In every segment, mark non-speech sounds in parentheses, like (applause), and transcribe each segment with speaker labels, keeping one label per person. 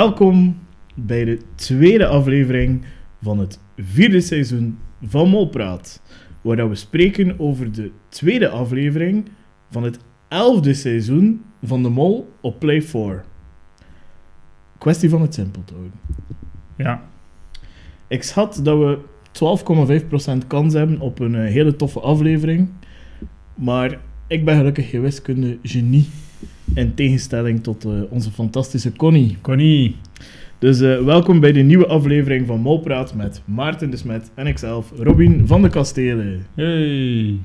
Speaker 1: Welkom bij de tweede aflevering van het vierde seizoen van Molpraat, waar dat we spreken over de tweede aflevering van het elfde seizoen van de Mol op Play 4. Kwestie van het simpel te houden.
Speaker 2: Ja,
Speaker 1: Ik schat dat we 12,5% kans hebben op een eh, hele toffe aflevering. Maar ik ben gelukkig geen wiskunde genie. In tegenstelling tot eh, onze fantastische Connie.
Speaker 2: Connie.
Speaker 1: Dus eh, welkom bij de nieuwe aflevering van Molpraat met Maarten de Smet en ikzelf, Robin van de Kastelen.
Speaker 2: Hey.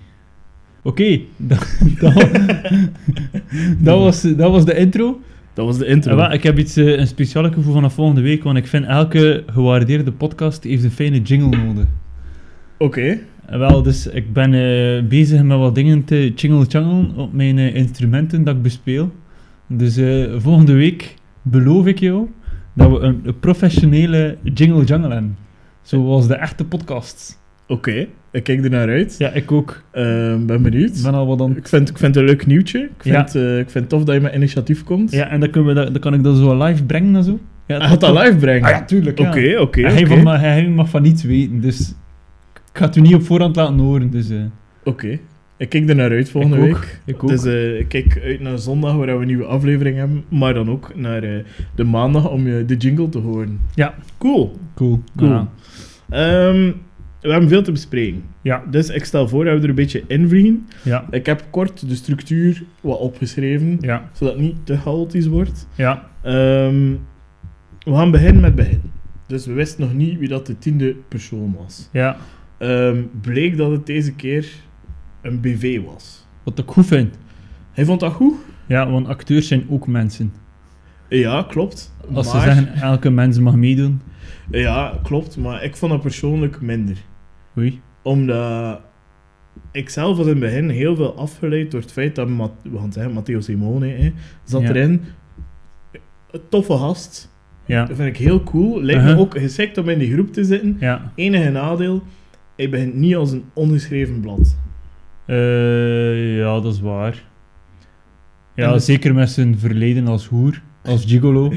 Speaker 2: Oké, (laughs) dat, dat, dat was, dat was de intro.
Speaker 1: Dat was de intro.
Speaker 2: Eh, wel, ik heb iets, eh, een speciaal gevoel vanaf volgende week, want ik vind elke gewaardeerde podcast heeft een fijne jingle nodig.
Speaker 1: Oké.
Speaker 2: Eh, Wel, dus ik ben eh, bezig met wat dingen te jingle-jangelen op mijn eh, instrumenten dat ik bespeel. Dus eh, volgende week beloof ik jou dat we een, een professionele jingle-jangle hebben. Zoals de echte podcasts.
Speaker 1: Oké, ik kijk er naar uit.
Speaker 2: Ja, ik ook.
Speaker 1: Eh, ben benieuwd.
Speaker 2: Ik ben al wat aan
Speaker 1: Ik, vind, ik vind het een leuk nieuwtje. Ik
Speaker 2: Ja.
Speaker 1: vind, eh, ik vind het tof dat je met initiatief komt.
Speaker 2: Ja, en dan, kunnen we dat, dan kan ik dat zo live brengen en zo. Ja,
Speaker 1: Hij gaat dat live brengen.
Speaker 2: Ah ja, tuurlijk. ja.
Speaker 1: Oké, oké.
Speaker 2: En
Speaker 1: oké.
Speaker 2: hij, van, maar hij mag van niets weten, dus ik ga het u niet op voorhand laten horen. Dus, eh,
Speaker 1: Oké. Ik kijk er naar uit volgende
Speaker 2: Ik ook,
Speaker 1: week.
Speaker 2: ik ook.
Speaker 1: Dus eh, ik kijk uit naar zondag waar we een nieuwe aflevering hebben. Maar dan ook naar eh, de maandag om je de jingle te horen.
Speaker 2: Ja.
Speaker 1: Cool.
Speaker 2: cool.
Speaker 1: Cool.
Speaker 2: Ja.
Speaker 1: Ehm, we hebben veel te bespreken.
Speaker 2: Ja.
Speaker 1: Dus ik stel voor dat we er een beetje in vliegen.
Speaker 2: ja,
Speaker 1: Ik heb kort de structuur wat opgeschreven,
Speaker 2: ja,
Speaker 1: zodat het niet te chaotisch wordt.
Speaker 2: ja.
Speaker 1: Ehm, we gaan beginnen met begin. Dus we wisten nog niet wie dat de tiende persoon was.
Speaker 2: ja.
Speaker 1: Ehm, bleek dat het deze keer een BV was.
Speaker 2: Wat ik goed vind.
Speaker 1: Hij vond dat goed.
Speaker 2: Ja, want acteurs zijn ook mensen.
Speaker 1: Ja, klopt.
Speaker 2: Als
Speaker 1: maar,
Speaker 2: ze zeggen, elke mens mag meedoen.
Speaker 1: Ja, klopt. Maar ik vond dat persoonlijk minder.
Speaker 2: Oei.
Speaker 1: Omdat ik zelf was in het begin heel veel afgeleid door het feit dat Mat- we gaan zeggen, Matteo Simone hè, zat
Speaker 2: Ja.
Speaker 1: erin. Een toffe gast.
Speaker 2: Ja,
Speaker 1: Dat vind ik heel cool. Lijkt
Speaker 2: Uh-huh.
Speaker 1: me ook geschikt om in die groep te zitten.
Speaker 2: ja.
Speaker 1: Enige nadeel, hij begint niet als een ongeschreven blad.
Speaker 2: Eh, ja, dat is waar.
Speaker 1: En
Speaker 2: Ja,
Speaker 1: de-
Speaker 2: zeker met zijn verleden als hoer, als
Speaker 1: (laughs)
Speaker 2: gigolo.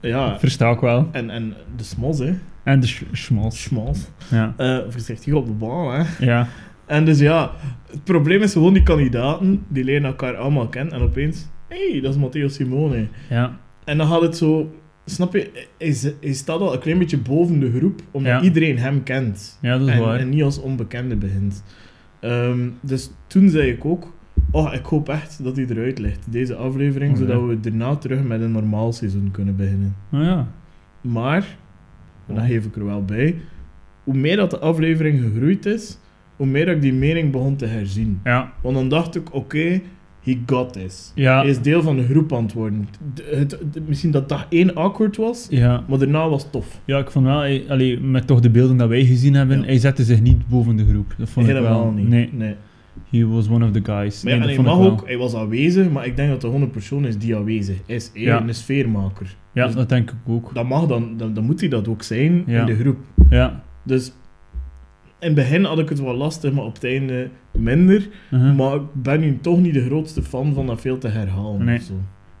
Speaker 1: Ja,
Speaker 2: Versta ik wel.
Speaker 1: en, en de smos, hè.
Speaker 2: En de sch- schmals.
Speaker 1: Smos.
Speaker 2: Ja,
Speaker 1: Eh, voorzichtig op de bal, hè.
Speaker 2: ja.
Speaker 1: En dus ja, het probleem is gewoon die kandidaten, die leren elkaar allemaal kennen en opeens, hé, hey, dat is Matteo Simone.
Speaker 2: Ja,
Speaker 1: En dan gaat het zo, snap je, hij, z- hij staat al een klein beetje boven de groep, omdat
Speaker 2: Ja.
Speaker 1: iedereen hem kent.
Speaker 2: ja dat is
Speaker 1: En,
Speaker 2: waar.
Speaker 1: en niet als onbekende begint. Ehm, dus toen zei ik ook, oh, ik hoop echt dat hij eruit ligt, deze aflevering,
Speaker 2: Oh, ja.
Speaker 1: zodat we daarna terug met een normaal seizoen kunnen beginnen.
Speaker 2: Nou ja.
Speaker 1: Maar, en dat geef ik er wel bij, hoe meer dat de aflevering gegroeid is, hoe meer dat ik die mening begon te herzien.
Speaker 2: Ja,
Speaker 1: Want dan dacht ik, oké, he got this.
Speaker 2: ja,
Speaker 1: Hij is deel van de groep aan het worden. De- het- de- misschien dat dag één awkward was,
Speaker 2: ja.
Speaker 1: maar daarna was het tof.
Speaker 2: Ja, ik vond wel, hij- allee, met toch de beelden dat wij gezien hebben,
Speaker 1: Ja.
Speaker 2: hij zette zich niet boven de groep. Dat vond ik
Speaker 1: Helemaal
Speaker 2: wel.
Speaker 1: niet.
Speaker 2: Nee, he was one of the guys.
Speaker 1: Maar ja,
Speaker 2: nee,
Speaker 1: en
Speaker 2: dat
Speaker 1: hij
Speaker 2: vond
Speaker 1: mag
Speaker 2: ik
Speaker 1: ook,
Speaker 2: wel.
Speaker 1: hij was aanwezig, maar ik denk dat er gewoon een persoon is die aanwezig is. Hij
Speaker 2: Ja.
Speaker 1: een sfeermaker.
Speaker 2: Ja,
Speaker 1: dus-
Speaker 2: dat denk ik ook.
Speaker 1: Dat mag dan, dan, dan moet hij dat ook zijn
Speaker 2: Ja.
Speaker 1: in de groep.
Speaker 2: Ja.
Speaker 1: Dus in het begin had ik het wel lastig, maar op het einde minder.
Speaker 2: Uh-huh.
Speaker 1: Maar ik ben nu toch niet de grootste fan van dat veel te herhalen.
Speaker 2: Nee.
Speaker 1: of zo.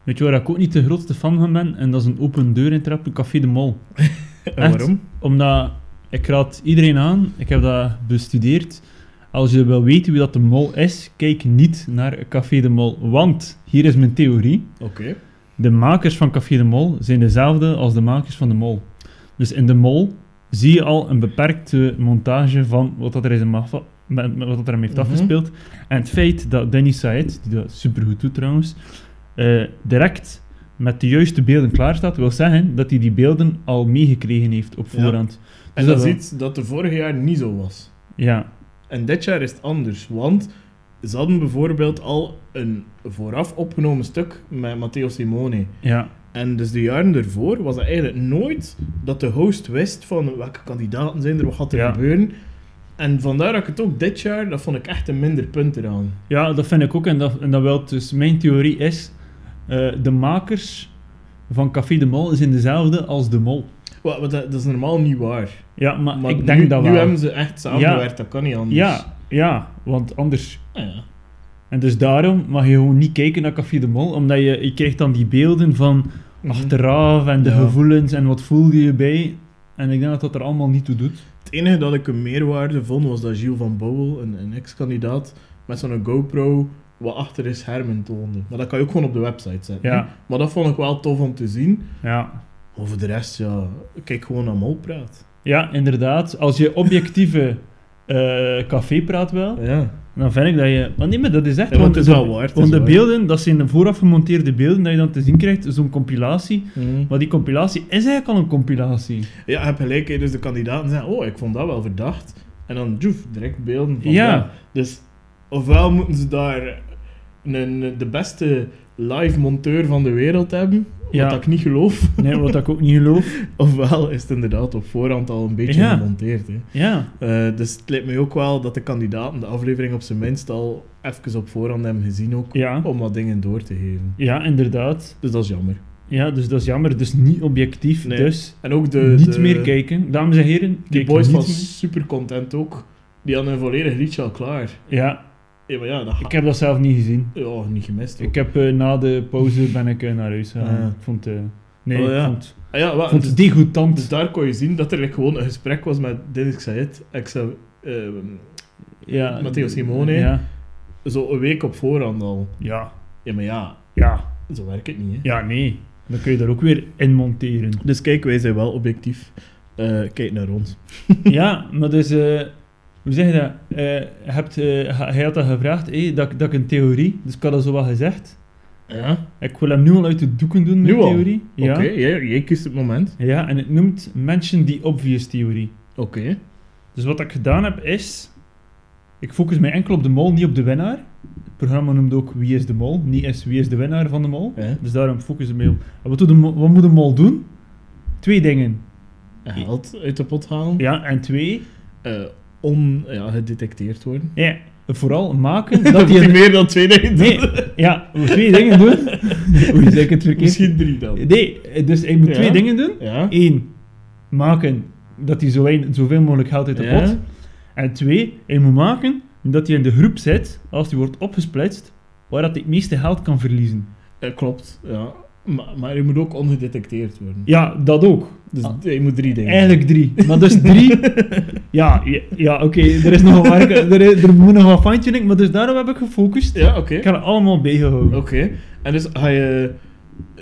Speaker 2: Weet je waar ik ook niet de grootste fan van ben? En dat is een open deur intrap in Café de Mol.
Speaker 1: En waarom?
Speaker 2: Omdat ik raad iedereen aan, ik heb dat bestudeerd. Als je wil weten wie dat de mol is, kijk niet naar Café de Mol. Want, hier is mijn theorie.
Speaker 1: Oké.
Speaker 2: De makers van Café de Mol zijn dezelfde als de makers van de Mol. Dus in de Mol zie je al een beperkte montage van wat dat er, is in Maffa- met- met wat dat er hem heeft
Speaker 1: Mhm.
Speaker 2: afgespeeld. En het feit dat Danny Said, die dat supergoed doet trouwens, eh, direct met de juiste beelden klaar staat, wil zeggen dat hij die beelden al meegekregen heeft op
Speaker 1: Ja.
Speaker 2: voorhand.
Speaker 1: En
Speaker 2: Dus
Speaker 1: dat
Speaker 2: dat
Speaker 1: is
Speaker 2: wel.
Speaker 1: iets dat de vorige jaar niet zo was.
Speaker 2: Ja,
Speaker 1: En dit jaar is het anders, want ze hadden bijvoorbeeld al een vooraf opgenomen stuk met Matteo Simone.
Speaker 2: ja,
Speaker 1: En dus de jaren ervoor was het eigenlijk nooit dat de host wist van welke kandidaten zijn er, wat gaat er
Speaker 2: Ja.
Speaker 1: gebeuren. En vandaar dat ik het ook dit jaar, dat vond ik echt een minder punt eraan.
Speaker 2: Ja, dat vind ik ook. En dat, en dat wel, dus mijn theorie is: eh, de makers van Café de Mol zijn dezelfde als de Mol.
Speaker 1: Wat, wat, dat is normaal niet waar.
Speaker 2: Ja, maar,
Speaker 1: Maar
Speaker 2: ik denk
Speaker 1: nu,
Speaker 2: dat
Speaker 1: nu
Speaker 2: wel.
Speaker 1: hebben ze echt samengewerkt, dat kan niet anders.
Speaker 2: Ja, ja, want anders.
Speaker 1: Ah ja.
Speaker 2: En dus daarom mag je gewoon niet kijken naar Café de Mol, omdat je, je krijgt dan die beelden van. achteraf en de
Speaker 1: Mhm. Ja.
Speaker 2: gevoelens en wat voelde je bij. En ik denk dat dat er allemaal niet toe doet.
Speaker 1: Het enige dat ik een meerwaarde vond was dat Gilles van Bouwel, een, een ex-kandidaat, met zo'n GoPro wat achter is schermen toonde. Maar dat kan je ook gewoon op de website zetten. hè.
Speaker 2: Ja,
Speaker 1: Maar dat vond ik wel tof om te zien.
Speaker 2: ja.
Speaker 1: Over de rest, ja, kijk gewoon naar Molpraat.
Speaker 2: ja inderdaad. Als je objectieve (laughs) eh, café praat wel,
Speaker 1: Ja.
Speaker 2: dan vind ik dat je... Maar nee, maar dat is echt...
Speaker 1: Ja, want het is wel waar, het
Speaker 2: Want
Speaker 1: is
Speaker 2: de
Speaker 1: waar.
Speaker 2: beelden, dat zijn de vooraf gemonteerde beelden dat je dan te zien krijgt, zo'n compilatie.
Speaker 1: Mm.
Speaker 2: Maar die compilatie is eigenlijk al een
Speaker 1: (laughs)
Speaker 2: compilatie.
Speaker 1: Ja, je hebt gelijk. hè. Dus de kandidaten zeggen, oh, ik vond dat wel verdacht. En dan, joef, direct beelden van
Speaker 2: Ja.
Speaker 1: dat. Dus ofwel moeten ze daar een, de beste live monteur van de wereld hebben,
Speaker 2: Ja.
Speaker 1: wat ik niet geloof.
Speaker 2: Nee, wat ik ook niet geloof.
Speaker 1: Ofwel is het inderdaad op voorhand al een beetje
Speaker 2: Ja.
Speaker 1: gemonteerd. Hè.
Speaker 2: Ja,
Speaker 1: Eh, dus het lijkt mij ook wel dat de kandidaten de aflevering op zijn minst al even op voorhand hebben gezien ook,
Speaker 2: Ja.
Speaker 1: om wat dingen door te geven.
Speaker 2: ja inderdaad.
Speaker 1: Dus dat is jammer.
Speaker 2: Ja, dus dat is jammer. Dus niet objectief.
Speaker 1: Nee.
Speaker 2: Dus
Speaker 1: En ook de,
Speaker 2: niet
Speaker 1: de-
Speaker 2: meer kijken. Dames en heren,
Speaker 1: die
Speaker 2: kijk
Speaker 1: boys
Speaker 2: niet
Speaker 1: van
Speaker 2: meer.
Speaker 1: super content ook, die hadden een volledig liedje al klaar.
Speaker 2: Ja,
Speaker 1: Ja, maar ja, dat ga
Speaker 2: ik heb dat zelf niet gezien.
Speaker 1: Ja, niet gemist.
Speaker 2: Ik heb eh, na de pauze ben ik eh, naar huis gegaan.
Speaker 1: Ah, ja.
Speaker 2: Ik vond... eh, nee,
Speaker 1: Oh, ja.
Speaker 2: ik vond,
Speaker 1: Ah ja,
Speaker 2: ik
Speaker 1: wel,
Speaker 2: vond
Speaker 1: dus,
Speaker 2: het degoutant.
Speaker 1: dus daar kon je zien dat er like, gewoon een gesprek was met Dennis Xayet. Ik zei, ehm,
Speaker 2: ja,
Speaker 1: Matteo Simone.
Speaker 2: Ja.
Speaker 1: zo een week op voorhand al.
Speaker 2: ja,
Speaker 1: Ja, maar ja,
Speaker 2: ja,
Speaker 1: zo werkt het niet, hè.
Speaker 2: ja, nee. Dan kun je daar ook weer in
Speaker 1: (laughs)
Speaker 2: monteren.
Speaker 1: Dus kijk, wij zijn wel objectief. Eh, kijk naar ons.
Speaker 2: Ja, maar dus, eh, hoe zeg je dat? Eh, je hebt, eh, ha- hij had dat gevraagd, eh, dat, ik- dat ik een theorie, dus ik had dat zo wat gezegd.
Speaker 1: Ja?
Speaker 2: Ik wil hem nu al uit de doeken doen,
Speaker 1: Nu
Speaker 2: mijn
Speaker 1: al?
Speaker 2: theorie.
Speaker 1: Oké,
Speaker 2: Ja.
Speaker 1: jij, jij kiest het moment.
Speaker 2: ja, en het noemt Mention the Obvious Theorie.
Speaker 1: Oké.
Speaker 2: Dus wat ik gedaan heb is, ik focus mij enkel op de mol, niet op de winnaar. Het programma noemt ook Wie is de mol, niet eens Wie is de winnaar van de mol.
Speaker 1: Ja.
Speaker 2: Dus daarom focus ik mij op. En wat, doet de mol- wat moet de mol doen? Twee dingen.
Speaker 1: Een Held uit de pot halen.
Speaker 2: Ja, en twee,
Speaker 1: Eh, on, ja, gedetecteerd worden.
Speaker 2: ja, vooral (laughs) maken
Speaker 1: (laughs) Dat
Speaker 2: dat
Speaker 1: moet
Speaker 2: hij
Speaker 1: hij
Speaker 2: een
Speaker 1: meer dan twee dingen doen.
Speaker 2: Nee,
Speaker 1: (laughs)
Speaker 2: ja, we moeten twee dingen doen. (laughs) Hoe zeg ik het verkeerd?
Speaker 1: Misschien drie dan.
Speaker 2: Nee, dus ik moet
Speaker 1: Ja.
Speaker 2: twee dingen doen.
Speaker 1: Ja?
Speaker 2: Eén, maken dat hij zo wein- zoveel mogelijk geld uit de
Speaker 1: Ja.
Speaker 2: pot. En twee, hij moet maken dat hij in de groep zit, als hij wordt opgesplitst, waar dat hij het meeste geld kan verliezen.
Speaker 1: Eh, klopt, ja. Maar, maar je moet ook ongedetecteerd worden.
Speaker 2: Ja, dat ook.
Speaker 1: Dus
Speaker 2: Ah.
Speaker 1: je moet drie dingen
Speaker 2: Eigenlijk drie. Maar dus
Speaker 1: (laughs)
Speaker 2: drie... ja, ja, ja, oké, er is nog wat werk, er, is- er moet nog wat fine-tuning, maar dus daarom heb ik gefocust.
Speaker 1: doen. Ja, oké.
Speaker 2: Ik heb het allemaal bijgehouden.
Speaker 1: Oké. En dus ga je...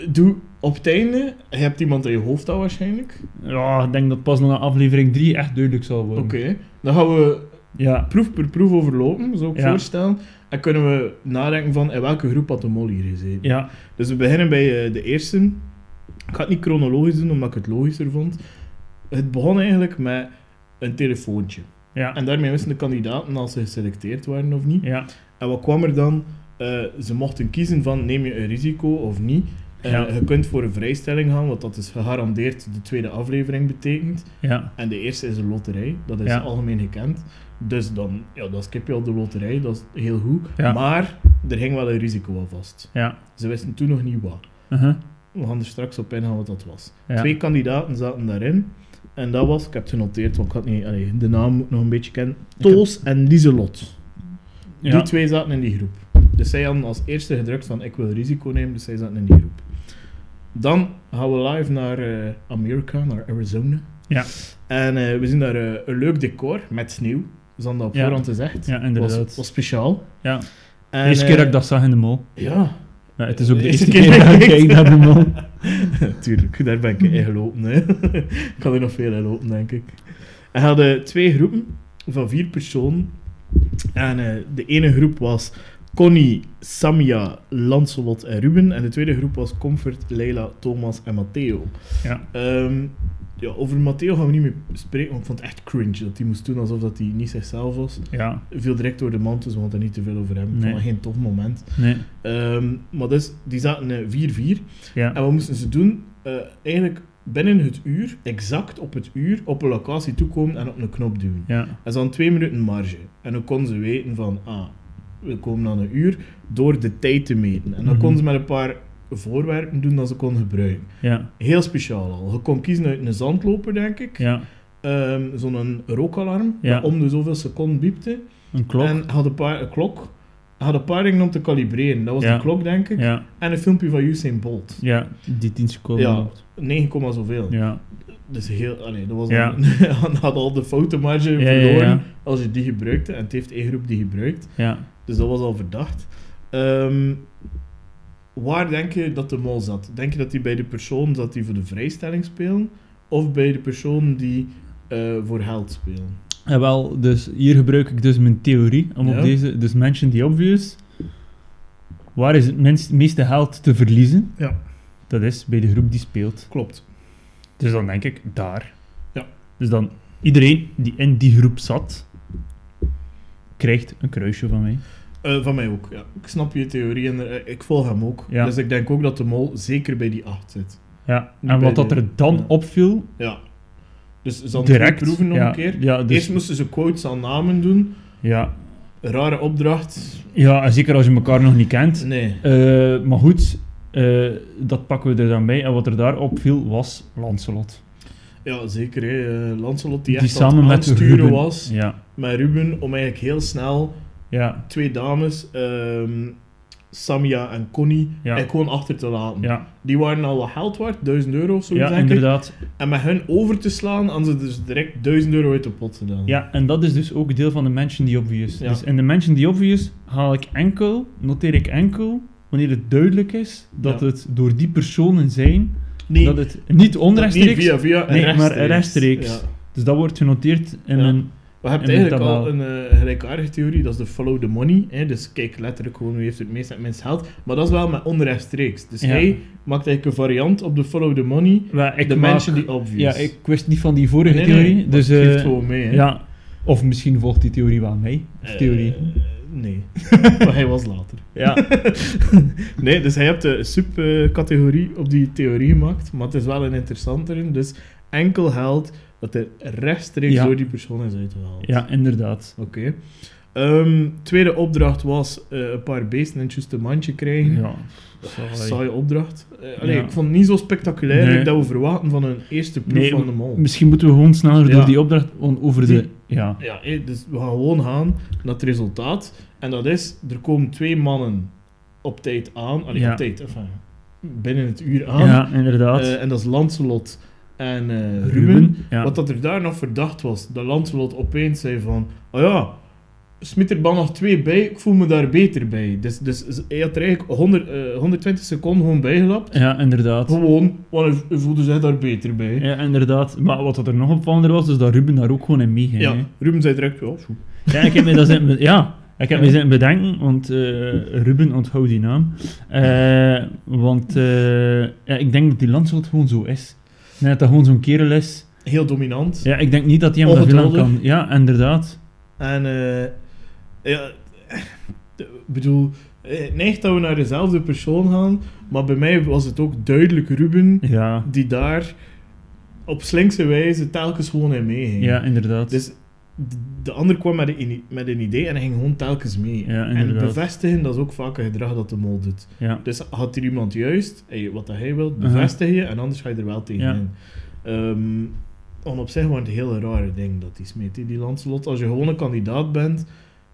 Speaker 1: Doe op het einde... Je hebt iemand in je hoofd al waarschijnlijk.
Speaker 2: Ja, ik denk dat pas na aflevering 3 echt duidelijk zal worden.
Speaker 1: Oké. Dan gaan we
Speaker 2: Ja,
Speaker 1: proef per proef overlopen, zou ik
Speaker 2: Ja.
Speaker 1: voorstellen. En kunnen we nadenken van in welke groep had de mol hier gezeten.
Speaker 2: ja,
Speaker 1: Dus we beginnen bij eh, de eerste. Ik ga het niet chronologisch doen, omdat ik het logischer vond. Het begon eigenlijk met een telefoontje.
Speaker 2: ja,
Speaker 1: En daarmee wisten de kandidaten als ze geselecteerd waren of niet.
Speaker 2: ja,
Speaker 1: En wat kwam er dan? Eh, ze mochten kiezen van neem je een risico of niet. Eh,
Speaker 2: Ja.
Speaker 1: Je kunt voor een vrijstelling gaan, want dat is gegarandeerd de tweede aflevering betekent.
Speaker 2: ja,
Speaker 1: En de eerste is een loterij, dat is
Speaker 2: Ja.
Speaker 1: algemeen gekend. Dus dan, ja, dan skip je al de loterij, dat is heel goed.
Speaker 2: Ja.
Speaker 1: Maar er ging wel een risico aan vast.
Speaker 2: ja.
Speaker 1: Ze wisten toen nog niet wat.
Speaker 2: Uh-huh.
Speaker 1: We gaan er straks op ingaan wat dat was.
Speaker 2: Ja.
Speaker 1: Twee kandidaten zaten daarin. En dat was, ik heb het genoteerd, want ik had niet, allee, de naam moet ik nog een beetje kennen.
Speaker 2: heb-
Speaker 1: Toos en Lieselot.
Speaker 2: Ja.
Speaker 1: Die twee zaten in die groep. Dus zij hadden als eerste gedrukt van ik wil risico nemen, dus zij zaten in die groep. Dan gaan we live naar eh, Amerika, naar Arizona.
Speaker 2: Ja.
Speaker 1: En eh, we zien daar eh, een leuk decor met sneeuw. Ze hadden dat op
Speaker 2: Ja.
Speaker 1: voorhand gezegd.
Speaker 2: Ja,
Speaker 1: was,
Speaker 2: inderdaad.
Speaker 1: was speciaal.
Speaker 2: Ja.
Speaker 1: En,
Speaker 2: De eerste keer dat ik
Speaker 1: eh,
Speaker 2: dat zag in de mol.
Speaker 1: Ja,
Speaker 2: Ja, het is ook de
Speaker 1: de
Speaker 2: eerste
Speaker 1: eerste
Speaker 2: keer
Speaker 1: keer
Speaker 2: dat ik
Speaker 1: dat ik
Speaker 2: kijk naar de mol.
Speaker 1: Tuurlijk, daar ben ik in gelopen. Hè. (laughs) ik kan er nog veel in lopen, denk ik. En hadden twee groepen van vier personen. En eh, de ene groep was Connie, Samia, Lancelot en Ruben. En de tweede groep was Comfort, Leila, Thomas en Matteo.
Speaker 2: (laughs) Ja.
Speaker 1: Ehm, ja, over Matteo gaan we niet meer spreken, want ik vond het echt cringe dat hij moest doen alsof dat hij niet zichzelf was.
Speaker 2: Ja,
Speaker 1: Viel direct door de mand, dus we hadden er niet te veel over hem. Ik
Speaker 2: Nee.
Speaker 1: vond dat geen tof moment.
Speaker 2: nee,
Speaker 1: Ehm, maar dus, die zaten eh, 4-4.
Speaker 2: ja,
Speaker 1: En wat moesten ze doen? Eh, eigenlijk binnen het uur, exact op het uur, op een locatie toekomen en op een knop duwen.
Speaker 2: ja,
Speaker 1: En ze hadden twee minuten marge. En dan konden ze weten van, ah, we komen aan een uur, door de tijd te meten. En dan
Speaker 2: Mhm.
Speaker 1: konden ze met een paar voorwerpen doen dat ze konden gebruiken.
Speaker 2: ja,
Speaker 1: Heel speciaal al. Je kon kiezen uit een zandloper, denk ik.
Speaker 2: ja.
Speaker 1: Ehm, Zo'n rookalarm,
Speaker 2: Ja.
Speaker 1: dat om de zoveel seconden biepte.
Speaker 2: Een klok.
Speaker 1: En had een paar een klok. had een paar dingen om te kalibreren. Dat was
Speaker 2: Ja.
Speaker 1: de klok, denk ik.
Speaker 2: Ja,
Speaker 1: En een filmpje van Usain Bolt.
Speaker 2: ja, die 10 seconden.
Speaker 1: Ja, 9, komma zoveel.
Speaker 2: Ja,
Speaker 1: Dus heel, allee, dat was
Speaker 2: Ja.
Speaker 1: (laughs) al, had al de foutenmarge
Speaker 2: ja, ja,
Speaker 1: verloren
Speaker 2: ja.
Speaker 1: als je die gebruikte. En het heeft één groep die gebruikt.
Speaker 2: ja.
Speaker 1: Dus dat was al verdacht. Ehm, waar denk je dat de mol zat? Denk je dat die bij de persoon zat die voor de vrijstelling spelen? Of bij de persoon die eh, voor geld spelen?
Speaker 2: En wel, dus hier gebruik ik dus mijn theorie. Om
Speaker 1: Ja.
Speaker 2: op deze, dus mention the obvious. Waar is het minst, meeste geld te verliezen?
Speaker 1: Ja.
Speaker 2: Dat is bij de groep die speelt.
Speaker 1: Klopt.
Speaker 2: Dus dan denk ik, daar.
Speaker 1: Ja.
Speaker 2: Dus dan, iedereen die in die groep zat, krijgt een kruisje van mij.
Speaker 1: Eh, van mij ook, ja. Ik snap je theorie en eh, ik volg hem ook.
Speaker 2: Ja.
Speaker 1: Dus ik denk ook dat de mol zeker bij die 8 zit.
Speaker 2: Ja.
Speaker 1: Nu
Speaker 2: en
Speaker 1: bij
Speaker 2: wat dat
Speaker 1: de-
Speaker 2: er dan
Speaker 1: ja.
Speaker 2: opviel,
Speaker 1: Ja. Dus ze hadden
Speaker 2: direct...
Speaker 1: het proeven nog
Speaker 2: ja,
Speaker 1: een keer.
Speaker 2: Ja, dus,
Speaker 1: Eerst moesten ze quotes aan namen doen.
Speaker 2: ja.
Speaker 1: Rare opdracht.
Speaker 2: ja, en zeker als je elkaar nog niet kent.
Speaker 1: Nee.
Speaker 2: Eh, maar goed, eh, dat pakken we er dan bij. En wat er daar opviel, was Lancelot.
Speaker 1: Ja, zeker. Hè. Eh, Lancelot die
Speaker 2: Die
Speaker 1: echt
Speaker 2: samen
Speaker 1: aan
Speaker 2: met
Speaker 1: het sturen
Speaker 2: Ruben.
Speaker 1: was
Speaker 2: Ja.
Speaker 1: met Ruben om eigenlijk heel snel
Speaker 2: Ja.
Speaker 1: twee dames, ehm, Samia en Connie,
Speaker 2: Ja.
Speaker 1: eigenlijk gewoon achter te laten.
Speaker 2: Ja,
Speaker 1: Die waren al wat geld waard, 1000 euro of zo.
Speaker 2: ja
Speaker 1: denk ik.
Speaker 2: inderdaad.
Speaker 1: En met hun over te slaan, hadden ze dus direct 1000 euro uit de pot gedaan.
Speaker 2: Ja, en dat is dus ook deel van de Mention die Obvious.
Speaker 1: Ja.
Speaker 2: Dus in de Mention die Obvious haal ik enkel, noteer ik enkel, wanneer het duidelijk is dat
Speaker 1: Ja.
Speaker 2: het door die personen zijn,
Speaker 1: Nee,
Speaker 2: dat het niet onrechtstreeks...
Speaker 1: Niet via via,
Speaker 2: Nee, maar
Speaker 1: Ja.
Speaker 2: rechtstreeks. Dus dat wordt genoteerd in
Speaker 1: Ja.
Speaker 2: mijn...
Speaker 1: We hebben
Speaker 2: In
Speaker 1: eigenlijk
Speaker 2: tabel.
Speaker 1: al een eh, gelijkaardige theorie, dat is de follow the money. Hè? Dus kijk letterlijk gewoon wie heeft het meest en het minst geld. Maar dat is wel met onrechtstreeks. Dus
Speaker 2: Ja.
Speaker 1: hij maakt eigenlijk een variant op de follow the money.
Speaker 2: Wel, ik
Speaker 1: de
Speaker 2: maak-
Speaker 1: mensen die obvious.
Speaker 2: Ja, ik wist niet van die vorige
Speaker 1: Nee, nee,
Speaker 2: theorie,
Speaker 1: nee, maar
Speaker 2: dus...
Speaker 1: het geeft
Speaker 2: eh,
Speaker 1: gewoon mee. Hè?
Speaker 2: ja. Of misschien volgt die theorie wel mee. Of
Speaker 1: Eh, (laughs)
Speaker 2: theorie. (laughs)
Speaker 1: nee, maar hij was later.
Speaker 2: Ja.
Speaker 1: Nee, dus hij heeft een subcategorie op die theorie gemaakt. Maar het is wel een interessantere. Dus enkel geld dat er rechtstreeks
Speaker 2: Ja.
Speaker 1: door die persoon is uitgehaald.
Speaker 2: ja, inderdaad.
Speaker 1: Oké. Ehm, tweede opdracht was eh, een paar beesten in het juiste mandje krijgen.
Speaker 2: Ja.
Speaker 1: Saaie opdracht. Eh, allee,
Speaker 2: Ja.
Speaker 1: Ik vond het niet zo spectaculair
Speaker 2: Nee.
Speaker 1: like dat we verwachten van een eerste proef
Speaker 2: Nee,
Speaker 1: van de mol.
Speaker 2: Misschien moeten we gewoon sneller
Speaker 1: Ja.
Speaker 2: door die opdracht on- over de...
Speaker 1: Die-
Speaker 2: Ja.
Speaker 1: Ja, eh, dus we gaan gewoon gaan naar het resultaat. En dat is, er komen twee mannen op tijd aan. Allee,
Speaker 2: Ja.
Speaker 1: op tijd, enfin, binnen het uur aan.
Speaker 2: Ja, inderdaad.
Speaker 1: Ah. Eh, en dat is Lancelot en eh, Ruben.
Speaker 2: ja.
Speaker 1: Wat dat er daar nog verdacht was, dat Lancelot opeens zei van... Oh ja, smit er dan nog twee bij, ik voel me daar beter bij. Dus, dus hij had er eigenlijk 100, eh, 120 seconden gewoon bijgelapt.
Speaker 2: ja, inderdaad.
Speaker 1: Gewoon, want hij- hij voelde zich daar beter bij. Ja,
Speaker 2: Ja, inderdaad. Maar wat dat er nog opvallender was, is dat Ruben daar ook gewoon in meeging. hè.
Speaker 1: Ruben zei direct, ja, zo.
Speaker 2: Ja, ik heb me dat zitten, be- ja, ik heb
Speaker 1: Ja.
Speaker 2: me zitten bedenken, want eh, Ruben onthoud die naam. Eh, want eh, ja, ik denk dat die Lancelot gewoon zo is. Ik denk dat dat gewoon zo'n kerel is.
Speaker 1: heel dominant.
Speaker 2: Ja, ik denk niet dat hij hem dat veel aan
Speaker 1: Ongeduldig.
Speaker 2: kan. Ja, inderdaad.
Speaker 1: En, eh ja, ik bedoel, eh, neigt dat we naar dezelfde persoon gaan, maar bij mij was het ook duidelijk Ruben,
Speaker 2: Ja,
Speaker 1: die daar op slinkse wijze telkens gewoon in meeging.
Speaker 2: ja inderdaad.
Speaker 1: Dus d- de ander kwam met een, ini- met een idee en hij ging gewoon telkens mee.
Speaker 2: Ja,
Speaker 1: en
Speaker 2: inderdaad.
Speaker 1: bevestigen, dat is ook vaak een gedrag dat de mol doet.
Speaker 2: ja.
Speaker 1: Dus had hier iemand juist, hey, wat dat hij wil,
Speaker 2: Uh-huh.
Speaker 1: bevestig je, en anders ga je er wel tegen
Speaker 2: Ja.
Speaker 1: in. Ehm, want op zich waren het hele rare dingen dat hij smeet, hè, die Lancelot. Als je gewoon een kandidaat bent,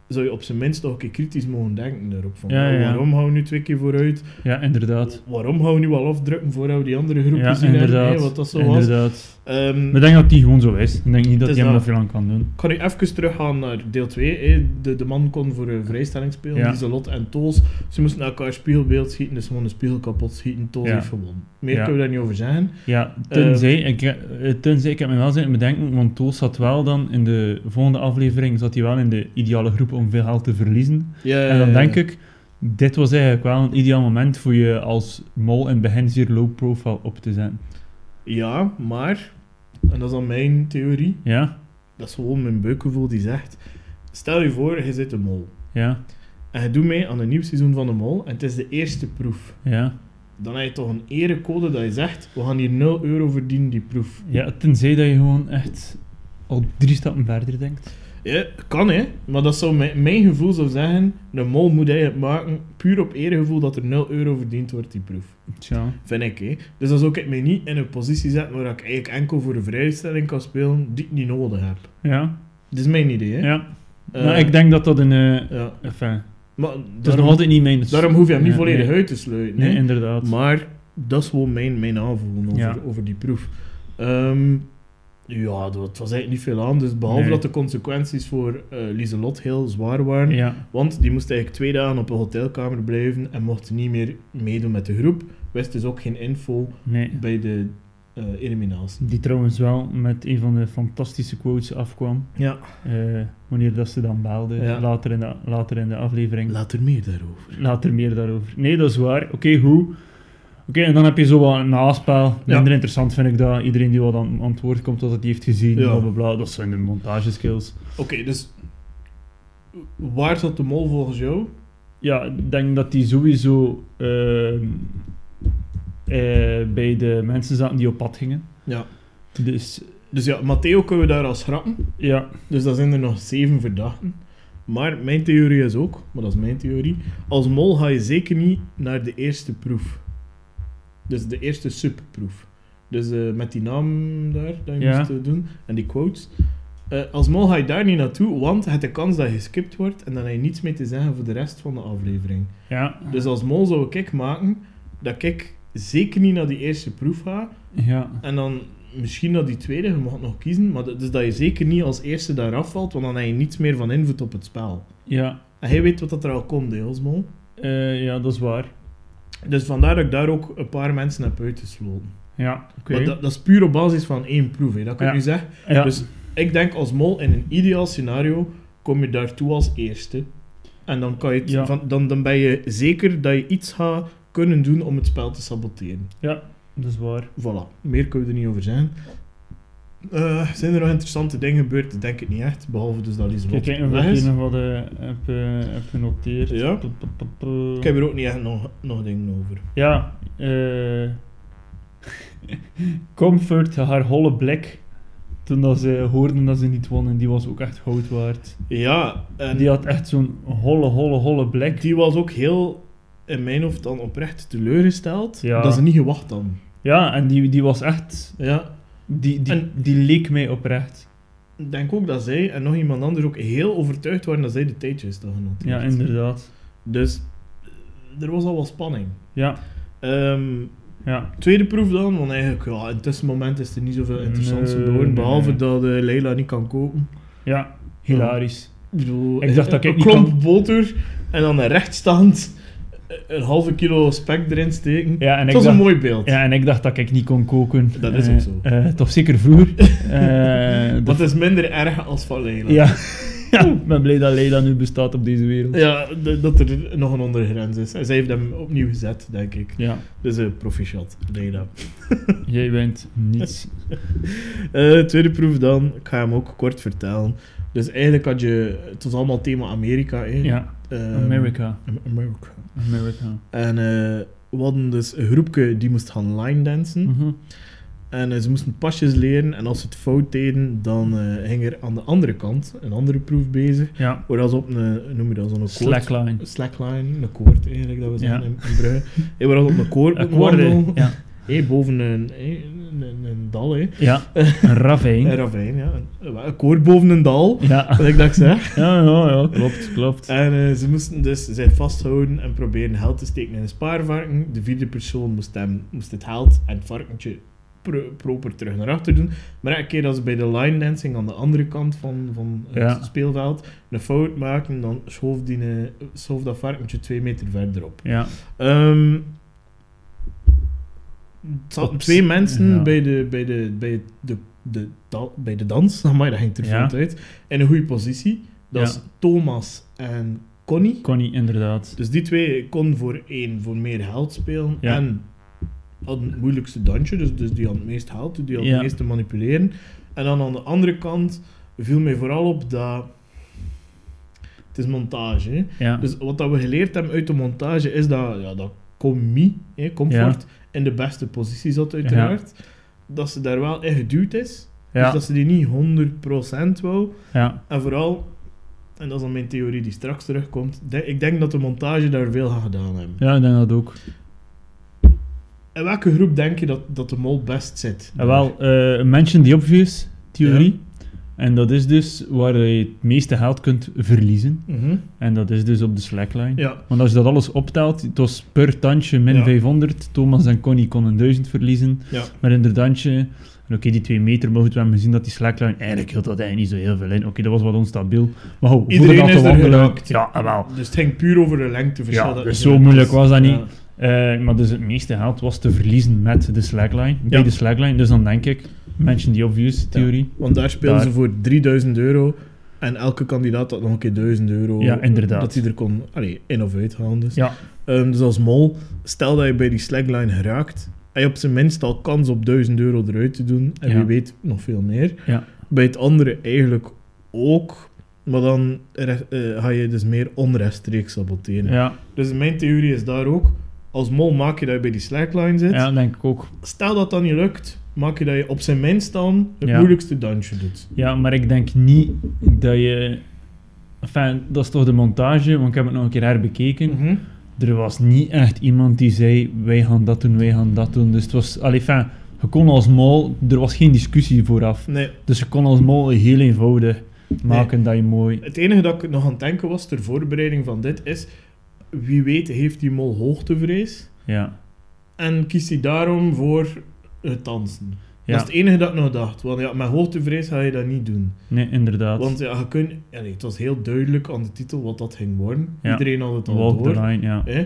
Speaker 1: zou je op zijn minst toch een keer kritisch mogen denken daarop. Van,
Speaker 2: Ja,
Speaker 1: oh,
Speaker 2: ja, ja.
Speaker 1: Waarom gaan we nu twee keer vooruit?
Speaker 2: ja, inderdaad.
Speaker 1: Waarom gaan we nu al afdrukken voordat we die andere groep
Speaker 2: Ja,
Speaker 1: zien hebben?
Speaker 2: inderdaad.
Speaker 1: Hey, wat dat zo was.
Speaker 2: inderdaad.
Speaker 1: Ehm,
Speaker 2: Maar ik denk dat die gewoon zo is. Ik denk niet dat
Speaker 1: is
Speaker 2: hij hem
Speaker 1: dat.
Speaker 2: dat veel aan kan doen.
Speaker 1: Ik ga nu even teruggaan naar deel 2. De, de man kon voor een vrijstelling spelen,
Speaker 2: Ja.
Speaker 1: Lieselot en Toos. Ze moesten naar elkaar spiegelbeeld schieten, dus gewoon een spiegel kapot schieten. Toos
Speaker 2: Ja.
Speaker 1: heeft gewonnen. Meer
Speaker 2: Ja.
Speaker 1: kunnen we daar niet over zeggen.
Speaker 2: Ja, tenzij, ik, eh, tenzij, ik heb me wel zitten bedenken, want Toos zat wel dan in de volgende aflevering, zat hij wel in de ideale groep om veel geld te verliezen.
Speaker 1: Ja,
Speaker 2: en dan denk ik, dit was eigenlijk wel een ideaal moment voor je als mol in het begin zeer low profile op te zetten.
Speaker 1: Ja, maar, en dat is dan mijn theorie,
Speaker 2: Ja,
Speaker 1: dat is gewoon mijn buikgevoel die zegt: stel je voor, je zit een mol.
Speaker 2: ja,
Speaker 1: En je doet mee aan een nieuw seizoen van de mol en het is de eerste proef.
Speaker 2: ja.
Speaker 1: Dan heb je toch een erecode dat je zegt: we gaan hier 0 euro verdienen die proef.
Speaker 2: Ja, tenzij dat je gewoon echt al drie stappen verder denkt.
Speaker 1: Ja, kan hè, maar dat zou mijn, mijn gevoel zou zeggen: de mol moet hij het maken puur op eregevoel dat er 0 euro verdiend wordt die proef.
Speaker 2: Tja.
Speaker 1: Vind ik hè. Dus dan zou ik mij niet in een positie zetten waar ik eigenlijk enkel voor een vrijstelling kan spelen die ik niet nodig heb.
Speaker 2: Ja,
Speaker 1: Dat is mijn idee hè.
Speaker 2: ja.
Speaker 1: Eh,
Speaker 2: nou, ik denk dat dat een... eh,
Speaker 1: ja.
Speaker 2: enfin,
Speaker 1: Maar
Speaker 2: Het is nog
Speaker 1: daarom,
Speaker 2: altijd niet mijn...
Speaker 1: daarom hoef je hem niet
Speaker 2: Ja,
Speaker 1: volledig
Speaker 2: nee.
Speaker 1: uit te sluiten.
Speaker 2: Nee,
Speaker 1: hè.
Speaker 2: inderdaad.
Speaker 1: Maar dat is gewoon mijn, mijn aanvoelen over,
Speaker 2: Ja.
Speaker 1: over die proef. Ehm, ja, dat was eigenlijk niet veel aan. Dus behalve
Speaker 2: Nee.
Speaker 1: dat de consequenties voor eh Lieselot heel zwaar waren.
Speaker 2: ja.
Speaker 1: Want die moest eigenlijk twee dagen op een hotelkamer blijven en mocht niet meer meedoen met de groep. Wist dus ook geen info
Speaker 2: Nee.
Speaker 1: bij de eh, eliminatie.
Speaker 2: Die trouwens wel met een van de fantastische quotes afkwam.
Speaker 1: Ja,
Speaker 2: eh, wanneer dat ze dan belde.
Speaker 1: Ja.
Speaker 2: Later, in de, later in de aflevering.
Speaker 1: later meer daarover.
Speaker 2: Later meer daarover. Nee, dat is waar. Oké, goed. Oké, en dan heb je zo wat een naspel. Minder interessant vind ik dat. Iedereen die wat aan, aan het woord komt, dat het die heeft gezien.
Speaker 1: Ja.
Speaker 2: Bla, bla, bla. Dat zijn de montageskills.
Speaker 1: Oké, dus waar zat de mol volgens jou?
Speaker 2: Ja, ik denk dat die sowieso ehm, eh, bij de mensen zaten die op pad gingen.
Speaker 1: Ja.
Speaker 2: Dus
Speaker 1: Dus ja, Matteo kunnen we daar als schrappen.
Speaker 2: ja,
Speaker 1: Dus dan zijn er nog zeven verdachten. Maar mijn theorie is ook, maar dat is mijn theorie. Als mol ga je zeker niet naar de eerste proef. Dus de eerste subproef. Dus eh, met die naam daar, dat je
Speaker 2: Ja.
Speaker 1: moest eh, doen, en die quotes. Eh, als mol ga je daar niet naartoe, want het de kans dat je geskipt wordt en dan heb je niets meer te zeggen voor de rest van de aflevering.
Speaker 2: ja,
Speaker 1: Dus als mol zou ik maken dat ik zeker niet naar die eerste proef ga,
Speaker 2: ja.
Speaker 1: en dan misschien naar die tweede, je mag het nog kiezen. Maar dat- dus dat je zeker niet als eerste daar afvalt, want dan heb je niets meer van invloed op het spel.
Speaker 2: ja.
Speaker 1: En hij weet wat dat er al komt, hè, Osmol.
Speaker 2: Eh, ja, dat is waar.
Speaker 1: Dus vandaar dat ik daar ook een paar mensen heb uitgesloten.
Speaker 2: Ja, oké.
Speaker 1: Maar dat, dat is puur op basis van één proef, hè. dat kan ik
Speaker 2: Ja.
Speaker 1: nu zeggen.
Speaker 2: Ja,
Speaker 1: Dus ik denk als mol in een ideaal scenario kom je daartoe als eerste. En dan, kan je het-
Speaker 2: Ja.
Speaker 1: van, dan, dan ben je zeker dat je iets gaat kunnen doen om het spel te saboteren.
Speaker 2: dat is waar.
Speaker 1: Voilà, meer kunnen we er niet over zijn. Eh, zijn er nog interessante dingen gebeurd? Ik denk het niet echt, behalve dus dat Lieselot
Speaker 2: Kijk, even
Speaker 1: weg
Speaker 2: wat ik
Speaker 1: is.
Speaker 2: hier nog wat eh, heb, eh, heb genoteerd.
Speaker 1: Ja.
Speaker 2: P- p- p- p-
Speaker 1: Ik heb er ook niet echt nog, nog dingen over.
Speaker 2: Ja, eh, (laughs) Comfort, haar holle blik. Toen dat ze hoorden dat ze niet wonnen, die was ook echt goud waard.
Speaker 1: Ja, en
Speaker 2: Die
Speaker 1: die,
Speaker 2: had echt zo'n holle, holle, holle blik.
Speaker 1: was ook heel, in mijn hoofd dan oprecht teleurgesteld,
Speaker 2: Ja.
Speaker 1: dat ze niet gewacht hadden.
Speaker 2: Ja, en die, die was echt...
Speaker 1: Ja,
Speaker 2: Die, die,
Speaker 1: En-
Speaker 2: die leek mij oprecht.
Speaker 1: ik denk ook dat zij en nog iemand anders ook heel overtuigd waren dat zij de tijdjes hadden
Speaker 2: Ja,
Speaker 1: genoteerd.
Speaker 2: inderdaad.
Speaker 1: Dus eh, er was al wat spanning.
Speaker 2: Ja,
Speaker 1: Ehm,
Speaker 2: ja.
Speaker 1: Tweede proef dan, want eigenlijk, ja, in het moment is er niet zoveel interessants
Speaker 2: Nee,
Speaker 1: geboren,
Speaker 2: nee,
Speaker 1: behalve
Speaker 2: nee.
Speaker 1: dat eh, Leila niet kan kopen.
Speaker 2: Ja, hilarisch.
Speaker 1: Ik bedoel, eh,
Speaker 2: Ik dacht dat ik
Speaker 1: een
Speaker 2: niet
Speaker 1: klomp boter en dan een rechtstand, eh, een halve kilo spek erin steken.
Speaker 2: Ja, en
Speaker 1: het
Speaker 2: ik
Speaker 1: was
Speaker 2: dacht-
Speaker 1: een mooi beeld.
Speaker 2: Ja, en ik dacht dat ik niet kon koken.
Speaker 1: Dat is
Speaker 2: Eh,
Speaker 1: ook zo.
Speaker 2: eh, toch zeker vroeger.
Speaker 1: (laughs)
Speaker 2: Eh,
Speaker 1: Dat is minder erg als van Leila.
Speaker 2: ja. (laughs) ja, ik ben blij dat Leila nu bestaat op deze wereld.
Speaker 1: Ja, d- dat er nog een ondergrens is. En zij heeft hem opnieuw gezet, denk ik.
Speaker 2: Ja,
Speaker 1: Dus een proficiat, Leila.
Speaker 2: jij bent niets.
Speaker 1: Eh, tweede proef dan, ik ga hem ook kort vertellen. Dus eigenlijk had je, het was allemaal thema Amerika. hè.
Speaker 2: Ja,
Speaker 1: Ehm,
Speaker 2: America.
Speaker 1: Amerika.
Speaker 2: America.
Speaker 1: En eh, we hadden dus een groepje die moest gaan line dansen.
Speaker 2: Mhm.
Speaker 1: En eh, ze moesten pasjes leren. En als ze het fout deden, dan eh hing er aan de andere kant een andere proef bezig.
Speaker 2: Ja,
Speaker 1: Waar dat ze op een, noem je dat, zo'n koord...
Speaker 2: slackline.
Speaker 1: Een slackline, een koord eigenlijk, dat we zeggen
Speaker 2: Ja.
Speaker 1: in, in Brugge. Hey, waar dat ze op een koord
Speaker 2: (laughs) Een
Speaker 1: moeten
Speaker 2: koorde.
Speaker 1: wandelen.
Speaker 2: Ja.
Speaker 1: Hey, boven een, hey, een, een- een dal, hè.
Speaker 2: ja, een
Speaker 1: (laughs) Een
Speaker 2: ravijn.
Speaker 1: ravijn, ja. Een, een koord boven een dal,
Speaker 2: Ja.
Speaker 1: wat ik dat zeg.
Speaker 2: Ja, ja, ja, klopt, klopt.
Speaker 1: En eh, ze moesten dus zijn vasthouden en proberen geld te steken in een spaarvarken. De vierde persoon moest, hem, moest het geld en het varkentje pro- proper terug naar achter doen. Maar elke keer dat ze bij de line dancing aan de andere kant van, van het
Speaker 2: Ja.
Speaker 1: speelveld een fout maakten, dan schoof, die, eh, schoof dat varkentje twee meter verderop.
Speaker 2: Ja,
Speaker 1: Ehm er zaten
Speaker 2: Ops.
Speaker 1: twee mensen
Speaker 2: Ja.
Speaker 1: bij, de, bij, de, bij, de, de, da- bij de dans, (laughs) maar dat ging er
Speaker 2: Ja.
Speaker 1: vlot uit, in een goede positie. Dat
Speaker 2: Ja.
Speaker 1: is Thomas en Connie.
Speaker 2: Connie, inderdaad.
Speaker 1: Dus die twee kon voor één voor meer geld spelen
Speaker 2: Ja.
Speaker 1: en hadden het moeilijkste dansje, dus, dus die had het meest geld, die had
Speaker 2: Ja.
Speaker 1: het meest te manipuleren. En dan aan de andere kant viel mij vooral op dat... Het is montage, hè.
Speaker 2: Ja,
Speaker 1: Dus wat dat we geleerd hebben uit de montage is dat, ja, dat commie, hè, comfort, in de beste positie zat uiteraard. Dat ze daar wel in geduwd is. Dus
Speaker 2: ja,
Speaker 1: dat ze die niet 100% wou.
Speaker 2: ja,
Speaker 1: En vooral, en dat is dan mijn theorie die straks terugkomt, de- ik denk dat de montage daar veel aan gedaan hebben.
Speaker 2: ja, ik denk dat ook.
Speaker 1: In welke groep denk je dat, dat de mol best zit?
Speaker 2: Eh, wel, eh Mention the Obvious theorie. En dat is dus waar je het meeste geld kunt verliezen.
Speaker 1: Mhm.
Speaker 2: En dat is dus op de slackline.
Speaker 1: Ja.
Speaker 2: Want als je dat alles optelt, het was per tandje min
Speaker 1: Ja.
Speaker 2: 500. Thomas en Connie konden 1000 verliezen.
Speaker 1: Ja.
Speaker 2: Maar in dat tandje, en oké, die 2 meter, maar goed, we hebben gezien dat die slackline eigenlijk hield dat eigenlijk niet zo heel veel in. Oké, dat was wat onstabiel. Maar goed,
Speaker 1: Iedereen
Speaker 2: voordat
Speaker 1: is
Speaker 2: we
Speaker 1: er
Speaker 2: wandelen-
Speaker 1: geraakt.
Speaker 2: Ja, ah, wel.
Speaker 1: Dus het ging puur over de lengteverschil.
Speaker 2: Ja,
Speaker 1: dat
Speaker 2: dus
Speaker 1: er
Speaker 2: zo
Speaker 1: is.
Speaker 2: moeilijk was dat niet.
Speaker 1: Ja.
Speaker 2: Eh, maar dus het meeste geld was te verliezen met de slackline, bij
Speaker 1: Ja.
Speaker 2: de slackline. Dus dan denk ik, mensen die obvious theorie.
Speaker 1: Want daar speelden
Speaker 2: Daar.
Speaker 1: ze voor 3000 euro. En elke kandidaat had nog een keer 1000 euro.
Speaker 2: Ja, inderdaad.
Speaker 1: Dat hij er kon allee, in of uit halen. Dus.
Speaker 2: Ja.
Speaker 1: Ehm, dus als mol, stel dat je bij die slackline geraakt. Heb je op zijn minst al kans op 1000 euro eruit te doen. En
Speaker 2: Ja.
Speaker 1: wie weet nog veel meer.
Speaker 2: Ja.
Speaker 1: Bij het andere eigenlijk ook. Maar dan re- eh, ga je dus meer onrechtstreeks saboteren.
Speaker 2: Ja,
Speaker 1: Dus mijn theorie is daar ook. Als mol maak je dat je bij die slackline zit.
Speaker 2: ja, denk ik ook.
Speaker 1: Stel dat dat niet lukt, maak je dat je op zijn minst dan het
Speaker 2: Ja.
Speaker 1: moeilijkste dansje doet.
Speaker 2: Ja, maar ik denk niet dat je... Enfin, dat is toch de montage, want ik heb het nog een keer herbekeken.
Speaker 1: Mhm.
Speaker 2: Er was niet echt iemand die zei, wij gaan dat doen, wij gaan dat doen. Dus het was... Allee, enfin, je kon als mol... Er was geen discussie vooraf.
Speaker 1: Nee,
Speaker 2: Dus je kon als mol heel eenvoudig maken dat je mooi...
Speaker 1: het enige dat ik nog aan het denken was ter voorbereiding van dit is: wie weet heeft die mol hoogtevrees
Speaker 2: Ja.
Speaker 1: en kiest hij daarom voor het dansen. Dat
Speaker 2: Ja,
Speaker 1: is het enige dat ik nog dacht. Want ja, met hoogtevrees ga je dat niet doen.
Speaker 2: nee, inderdaad.
Speaker 1: Want ja, je kunt, ja, nee, het was heel duidelijk aan de titel wat dat ging worden.
Speaker 2: Ja.
Speaker 1: Iedereen had het al
Speaker 2: Walk the
Speaker 1: door.
Speaker 2: line, ja.
Speaker 1: hè.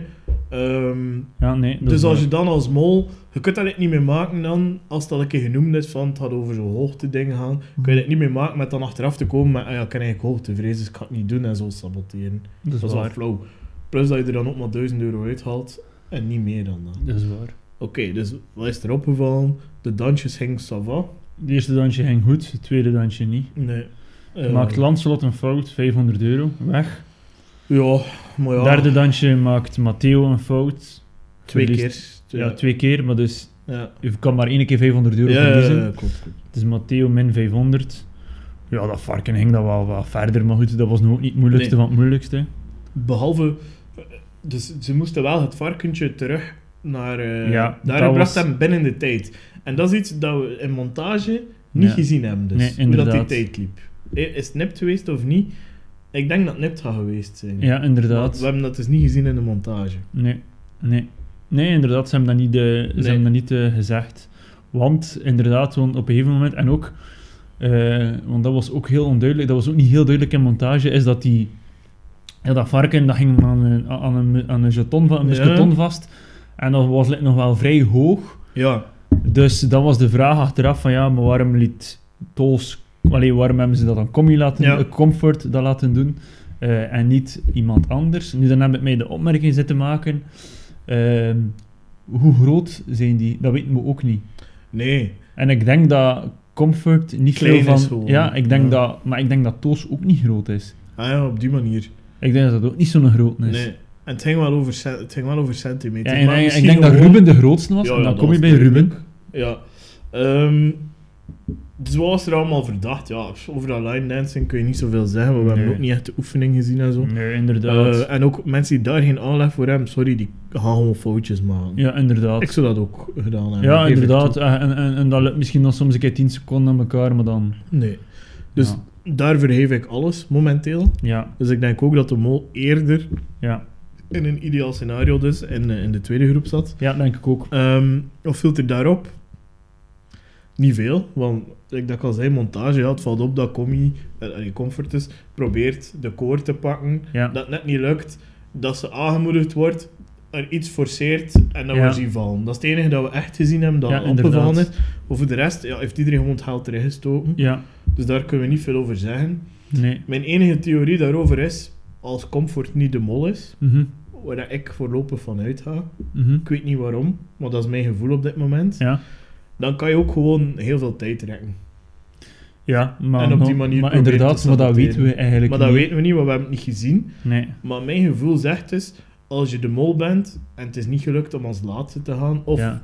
Speaker 1: Ehm,
Speaker 2: Ja, nee. dat
Speaker 1: Dus
Speaker 2: is
Speaker 1: als
Speaker 2: waar.
Speaker 1: je dan als mol, je kunt dat eigenlijk niet meer maken dan, als dat een keer genoemd is van het gaat over zo'n hoogte dingen gaan,
Speaker 2: Mhm.
Speaker 1: kun je dat niet meer maken met dan achteraf te komen met, ah ja, ik heb eigenlijk hoogtevrees, dus ik ga het niet doen en zo saboteren.
Speaker 2: Dat is
Speaker 1: Dat is wel
Speaker 2: waar.
Speaker 1: flauw. Plus dat je er dan ook maar 1000 euro uithaalt en niet meer dan dat.
Speaker 2: Dat is waar.
Speaker 1: Oké, dus wat is er opgevallen? De dansjes gingen sava.
Speaker 2: Het eerste dansje ging goed, het tweede dansje niet.
Speaker 1: Nee. Eh,
Speaker 2: Maakt Lancelot een fout, 500 euro, weg.
Speaker 1: Ja, maar ja,
Speaker 2: Derde dansje maakt Matteo een fout.
Speaker 1: twee
Speaker 2: verliest-
Speaker 1: keer.
Speaker 2: Ja, twee keer, maar dus
Speaker 1: Ja,
Speaker 2: je kan maar één keer 500 euro
Speaker 1: ja, ja,
Speaker 2: verliezen.
Speaker 1: ja, klopt.
Speaker 2: Dus Matteo min 500. Ja, dat varken ging dat wel wat verder, maar goed, dat was nog ook niet het moeilijkste
Speaker 1: Nee.
Speaker 2: van het moeilijkste.
Speaker 1: Behalve, eh, dus ze moesten wel het varkentje terug naar. eh
Speaker 2: Ja,
Speaker 1: daar
Speaker 2: dat
Speaker 1: bracht
Speaker 2: was-
Speaker 1: hem binnen de tijd. En dat is iets dat we in montage niet
Speaker 2: Ja.
Speaker 1: gezien hebben. Dus,
Speaker 2: Nee,
Speaker 1: hoe dat die
Speaker 2: inderdaad.
Speaker 1: tijd liep. Eh, Is het nipt geweest of niet? Ik denk dat het nipt gaat geweest zijn.
Speaker 2: Ja,
Speaker 1: Want
Speaker 2: inderdaad.
Speaker 1: We hebben dat dus niet gezien in de montage.
Speaker 2: Nee, nee. Nee, inderdaad, ze hebben dat niet, eh,
Speaker 1: Nee.
Speaker 2: ze hebben dat niet eh, gezegd. Want inderdaad, want op een gegeven moment, en ook, eh, want dat was ook heel onduidelijk, dat was ook niet heel duidelijk in montage, is dat die, ja, dat varken, dat ging aan een, aan een, aan een jeton, van- een
Speaker 1: Ja.
Speaker 2: musketon vast. En dat was nog wel vrij hoog.
Speaker 1: Ja,
Speaker 2: Dus dan was de vraag achteraf van, ja, maar waarom liet Tols, allee, waarom hebben ze dat aan Commy laten,
Speaker 1: Ja.
Speaker 2: eh, Comfort dat laten doen? eh, en niet iemand anders. Nu, dan heb ik mij de opmerking zitten maken. ehm, hoe groot zijn die? Dat weten we ook niet.
Speaker 1: nee.
Speaker 2: En ik denk dat comfort niet
Speaker 1: Klein
Speaker 2: veel
Speaker 1: is
Speaker 2: van...
Speaker 1: gewoon,
Speaker 2: ja, ik denk
Speaker 1: ja.
Speaker 2: dat... Maar ik denk dat Toos ook niet groot is.
Speaker 1: Ah ja, op die manier.
Speaker 2: Ik denk dat dat ook niet zo'n groot is.
Speaker 1: Nee. En het ging wel over, cent- het ging wel over centimeter.
Speaker 2: Ja, en
Speaker 1: maar
Speaker 2: ik- ik
Speaker 1: misschien
Speaker 2: denk dat
Speaker 1: gewoon-
Speaker 2: Ruben de grootste was.
Speaker 1: Ja,
Speaker 2: en
Speaker 1: ja,
Speaker 2: dan
Speaker 1: dat
Speaker 2: kom je
Speaker 1: was
Speaker 2: bij Ruben.
Speaker 1: Ja. Ehm dus wat was er allemaal verdacht? Ja, over dat line dancing kun je niet zoveel zeggen, maar we hebben
Speaker 2: Nee.
Speaker 1: ook niet echt de oefening gezien en zo.
Speaker 2: Nee, inderdaad.
Speaker 1: Eh, en ook mensen die daar geen aanleg voor hebben, sorry, die gaan gewoon foutjes maken.
Speaker 2: ja, inderdaad.
Speaker 1: Ik zou dat ook gedaan hebben.
Speaker 2: ja,
Speaker 1: geef ik
Speaker 2: inderdaad. Eh, En, en, en dat lukt misschien nog soms een keer 10 seconden aan elkaar, maar dan...
Speaker 1: toe. Nee. Dus daar vergeef ik alles, momenteel.
Speaker 2: Ja,
Speaker 1: Dus ik denk ook dat de mol eerder
Speaker 2: ja.
Speaker 1: in een ideaal scenario dus, in, eh, in de tweede groep zat.
Speaker 2: Ja, denk ik ook.
Speaker 1: Ehm wat viel er daarop? Niet veel, want like dat ik al zei, montage, ja, het valt op dat Commie, eh, allee, Comfort is, probeert de koor te pakken,
Speaker 2: Ja.
Speaker 1: dat net niet lukt, dat ze aangemoedigd wordt, er iets forceert en dan
Speaker 2: Ja.
Speaker 1: wordt ze vallen. Dat is het enige dat we echt gezien hebben dat
Speaker 2: Ja,
Speaker 1: opgevallen is.
Speaker 2: inderdaad.
Speaker 1: Over de rest ja, heeft iedereen gewoon het geld erin gestoken,
Speaker 2: Ja,
Speaker 1: dus daar kunnen we niet veel over zeggen.
Speaker 2: nee.
Speaker 1: Mijn enige theorie daarover is, als Comfort niet de mol is,
Speaker 2: Mhm.
Speaker 1: waar dat ik voorlopig van uitga,
Speaker 2: Mhm.
Speaker 1: ik weet niet waarom, maar dat is mijn gevoel op dit moment
Speaker 2: Ja.
Speaker 1: dan kan je ook gewoon heel veel tijd rekken.
Speaker 2: Ja, maar,
Speaker 1: En op die manier
Speaker 2: maar-
Speaker 1: proberen
Speaker 2: maar
Speaker 1: te
Speaker 2: inderdaad, maar dat
Speaker 1: saboteren.
Speaker 2: weten we eigenlijk
Speaker 1: Maar dat
Speaker 2: niet.
Speaker 1: weten we niet, want we hebben het niet gezien.
Speaker 2: Nee,
Speaker 1: Maar mijn gevoel zegt dus, als je de mol bent en het is niet gelukt om als laatste te gaan, of
Speaker 2: ja.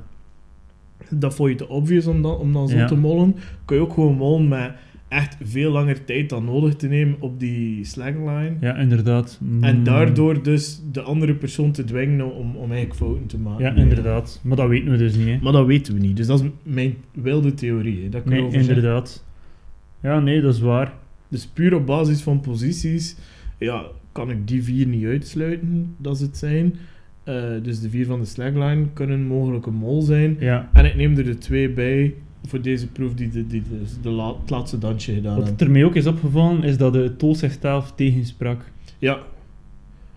Speaker 1: dat vond je te obvious om dan, om dan zo
Speaker 2: Ja.
Speaker 1: te mollen, kun je ook gewoon mollen met echt veel langer tijd dan nodig te nemen op die slangline.
Speaker 2: ja, inderdaad.
Speaker 1: En
Speaker 2: Mm.
Speaker 1: daardoor dus de andere persoon te dwingen om, om eigenlijk fouten te maken.
Speaker 2: Ja, inderdaad. Maar dat weten we dus niet, hè.
Speaker 1: Maar dat weten we niet, dus dat is mijn wilde theorie. Hè. Dat kun je
Speaker 2: Nee,
Speaker 1: over zeggen.
Speaker 2: inderdaad. Ja, nee, dat is waar.
Speaker 1: Dus puur op basis van posities ja, kan ik die vier niet uitsluiten dat ze het zijn. Eh, dus de vier van de slagline kunnen mogelijk een mol zijn.
Speaker 2: Ja.
Speaker 1: En ik neem er de twee bij voor deze proef die, de, die de, de la- het laatste dansje gedaan
Speaker 2: Wat
Speaker 1: hebben.
Speaker 2: het er mij ook is opgevallen, is dat de Tol zichzelf tegensprak.
Speaker 1: Ja.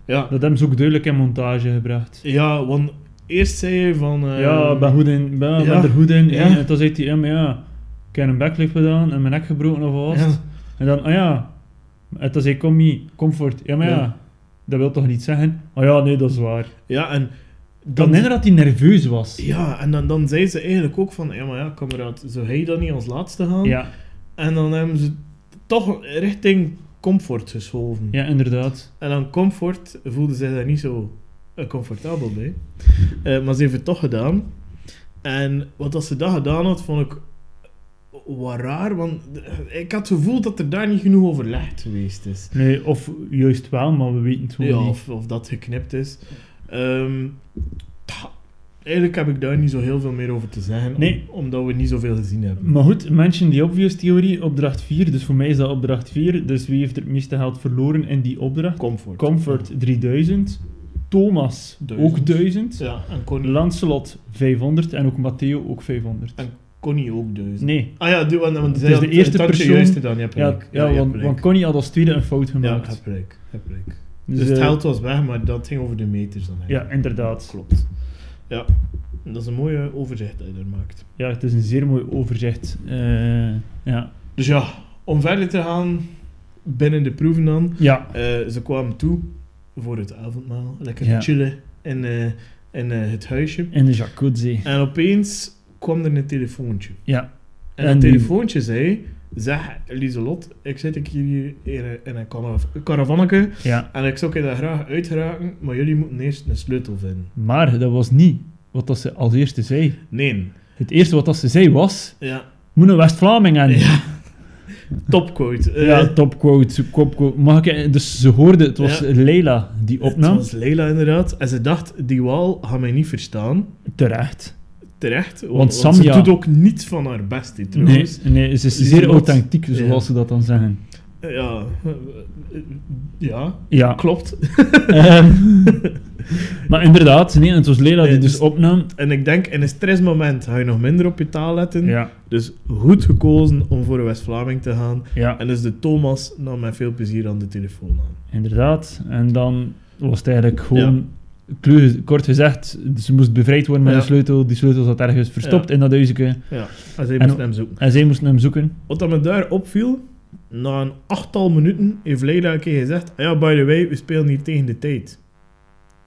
Speaker 1: Ja.
Speaker 2: Dat hebben ze ook duidelijk in montage gebracht.
Speaker 1: ja, want eerst zei je van... eh,
Speaker 2: Ehm, ja, ik ben, goed in, ben, ben
Speaker 1: ja.
Speaker 2: er goed in.
Speaker 1: Ja.
Speaker 2: En toen zei hij, ja, maar ja, ik heb een backflip gedaan en mijn nek gebroken of wat.
Speaker 1: Ja.
Speaker 2: En dan, ah ja. En toen zei ik, kom hier, comfort. Ja, maar ja.
Speaker 1: Ja.
Speaker 2: dat wil toch niet zeggen? Oh ja, nee, dat is waar.
Speaker 1: Ja, en...
Speaker 2: Dan
Speaker 1: Dan,
Speaker 2: inderdaad dat hij nerveus was.
Speaker 1: ja, en dan, dan zei ze eigenlijk ook van... Ja, maar ja, kameraad, zou hij dan niet als laatste gaan?
Speaker 2: Ja,
Speaker 1: En dan hebben ze toch richting comfort geschoven.
Speaker 2: ja inderdaad.
Speaker 1: En aan comfort voelde zij daar niet zo eh, comfortabel bij. Eh, maar ze heeft het toch gedaan. En wat dat ze dat gedaan had, vond ik wat raar. Want eh, ik had het gevoel dat er daar niet genoeg overlegd geweest is.
Speaker 2: Nee, of juist wel, maar we weten het gewoon
Speaker 1: Ja,
Speaker 2: niet.
Speaker 1: of, of dat geknipt is. Ehm, ja, eigenlijk heb ik daar niet zo heel veel meer over te zeggen. om-
Speaker 2: Nee.
Speaker 1: omdat we niet zoveel gezien hebben.
Speaker 2: Maar goed, mention the obvious theorie, opdracht 4. Dus voor mij is dat opdracht 4. Dus wie heeft er het meeste geld verloren in die opdracht?
Speaker 1: Comfort.
Speaker 2: Comfort 3000. Thomas ook
Speaker 1: Duizend.
Speaker 2: 1000.
Speaker 1: Ja, en Connie,
Speaker 2: Lancelot 500. En ook Matteo ook 500.
Speaker 1: En- Connie ook duizend.
Speaker 2: Nee,
Speaker 1: Ah ja, die- want, want
Speaker 2: is
Speaker 1: zij had
Speaker 2: de eerste
Speaker 1: het tandje
Speaker 2: persoon-
Speaker 1: juist gedaan. Je hebt
Speaker 2: ja,
Speaker 1: gelijk.
Speaker 2: ja,
Speaker 1: je hebt
Speaker 2: want,
Speaker 1: gelijk.
Speaker 2: want Connie had als tweede een fout
Speaker 1: Ja,
Speaker 2: gemaakt.
Speaker 1: heb gelijk. Heb gelijk.
Speaker 2: dus
Speaker 1: Dus, het
Speaker 2: eh,
Speaker 1: geld was weg, maar dat ging over de meters dan
Speaker 2: Ja,
Speaker 1: eigenlijk.
Speaker 2: inderdaad.
Speaker 1: klopt. Ja, en dat is een mooie overzicht dat je daar maakt.
Speaker 2: Ja, het is een zeer mooi overzicht. Eh, ja.
Speaker 1: Dus ja, om verder te gaan, binnen de proeven dan.
Speaker 2: ja,
Speaker 1: eh, ze kwamen toe voor het avondmaal. Lekker
Speaker 2: Ja.
Speaker 1: chillen in, eh, in eh, het huisje.
Speaker 2: in de jacuzzi.
Speaker 1: En opeens kwam er een telefoontje.
Speaker 2: Ja.
Speaker 1: En,
Speaker 2: En
Speaker 1: het
Speaker 2: die-
Speaker 1: telefoontje zei... Zeg, Lieselot, ik zit ik hier in een, in een karav- caravanneke
Speaker 2: ja.
Speaker 1: en ik zou je daar graag uitraken, maar jullie moeten eerst een sleutel vinden.
Speaker 2: Maar dat was niet wat dat ze als eerste zei.
Speaker 1: Nee.
Speaker 2: Het eerste wat dat ze zei was...
Speaker 1: Ja,
Speaker 2: Moet een West-Vlaming aan.
Speaker 1: Ja. Topquote. Eh,
Speaker 2: Ja, topquote, kopquote. Mag ik... Dus ze hoorde, het was
Speaker 1: Ja.
Speaker 2: Leila die opnam.
Speaker 1: Het was Leila inderdaad. En ze dacht, die wal gaat mij niet verstaan.
Speaker 2: Terecht.
Speaker 1: Terecht. Want,
Speaker 2: Want
Speaker 1: want
Speaker 2: Samja-
Speaker 1: ze doet ook niets van haar best, die
Speaker 2: Nee,
Speaker 1: trouwens.
Speaker 2: nee, ze is
Speaker 1: Lieselot.
Speaker 2: zeer authentiek,
Speaker 1: Ja.
Speaker 2: zoals ze dat dan zeggen.
Speaker 1: Ja. eh, eh, Ja,
Speaker 2: Ja.
Speaker 1: klopt.
Speaker 2: Ehm, (laughs) maar inderdaad, nee, het was Leila die
Speaker 1: Nee,
Speaker 2: dus
Speaker 1: dus-
Speaker 2: opnam.
Speaker 1: En ik denk, in een stressmoment ga je nog minder op je taal letten.
Speaker 2: Ja,
Speaker 1: Dus goed gekozen om voor een West-Vlaming te gaan.
Speaker 2: ja,
Speaker 1: En dus de Thomas nam met veel plezier aan de telefoon aan.
Speaker 2: inderdaad. En dan was het eigenlijk gewoon... kleu- Kort gezegd, ze moest bevrijd worden met
Speaker 1: Ja.
Speaker 2: een sleutel. Die sleutel zat ergens verstopt in dat huisje.
Speaker 1: Ja, en zij
Speaker 2: En-
Speaker 1: moest hem zoeken.
Speaker 2: En zij moesten hem zoeken.
Speaker 1: Wat dat me daar opviel, na een achttal minuten heeft Leila een keer gezegd... "Ah Ja, by the way, we spelen hier tegen de tijd.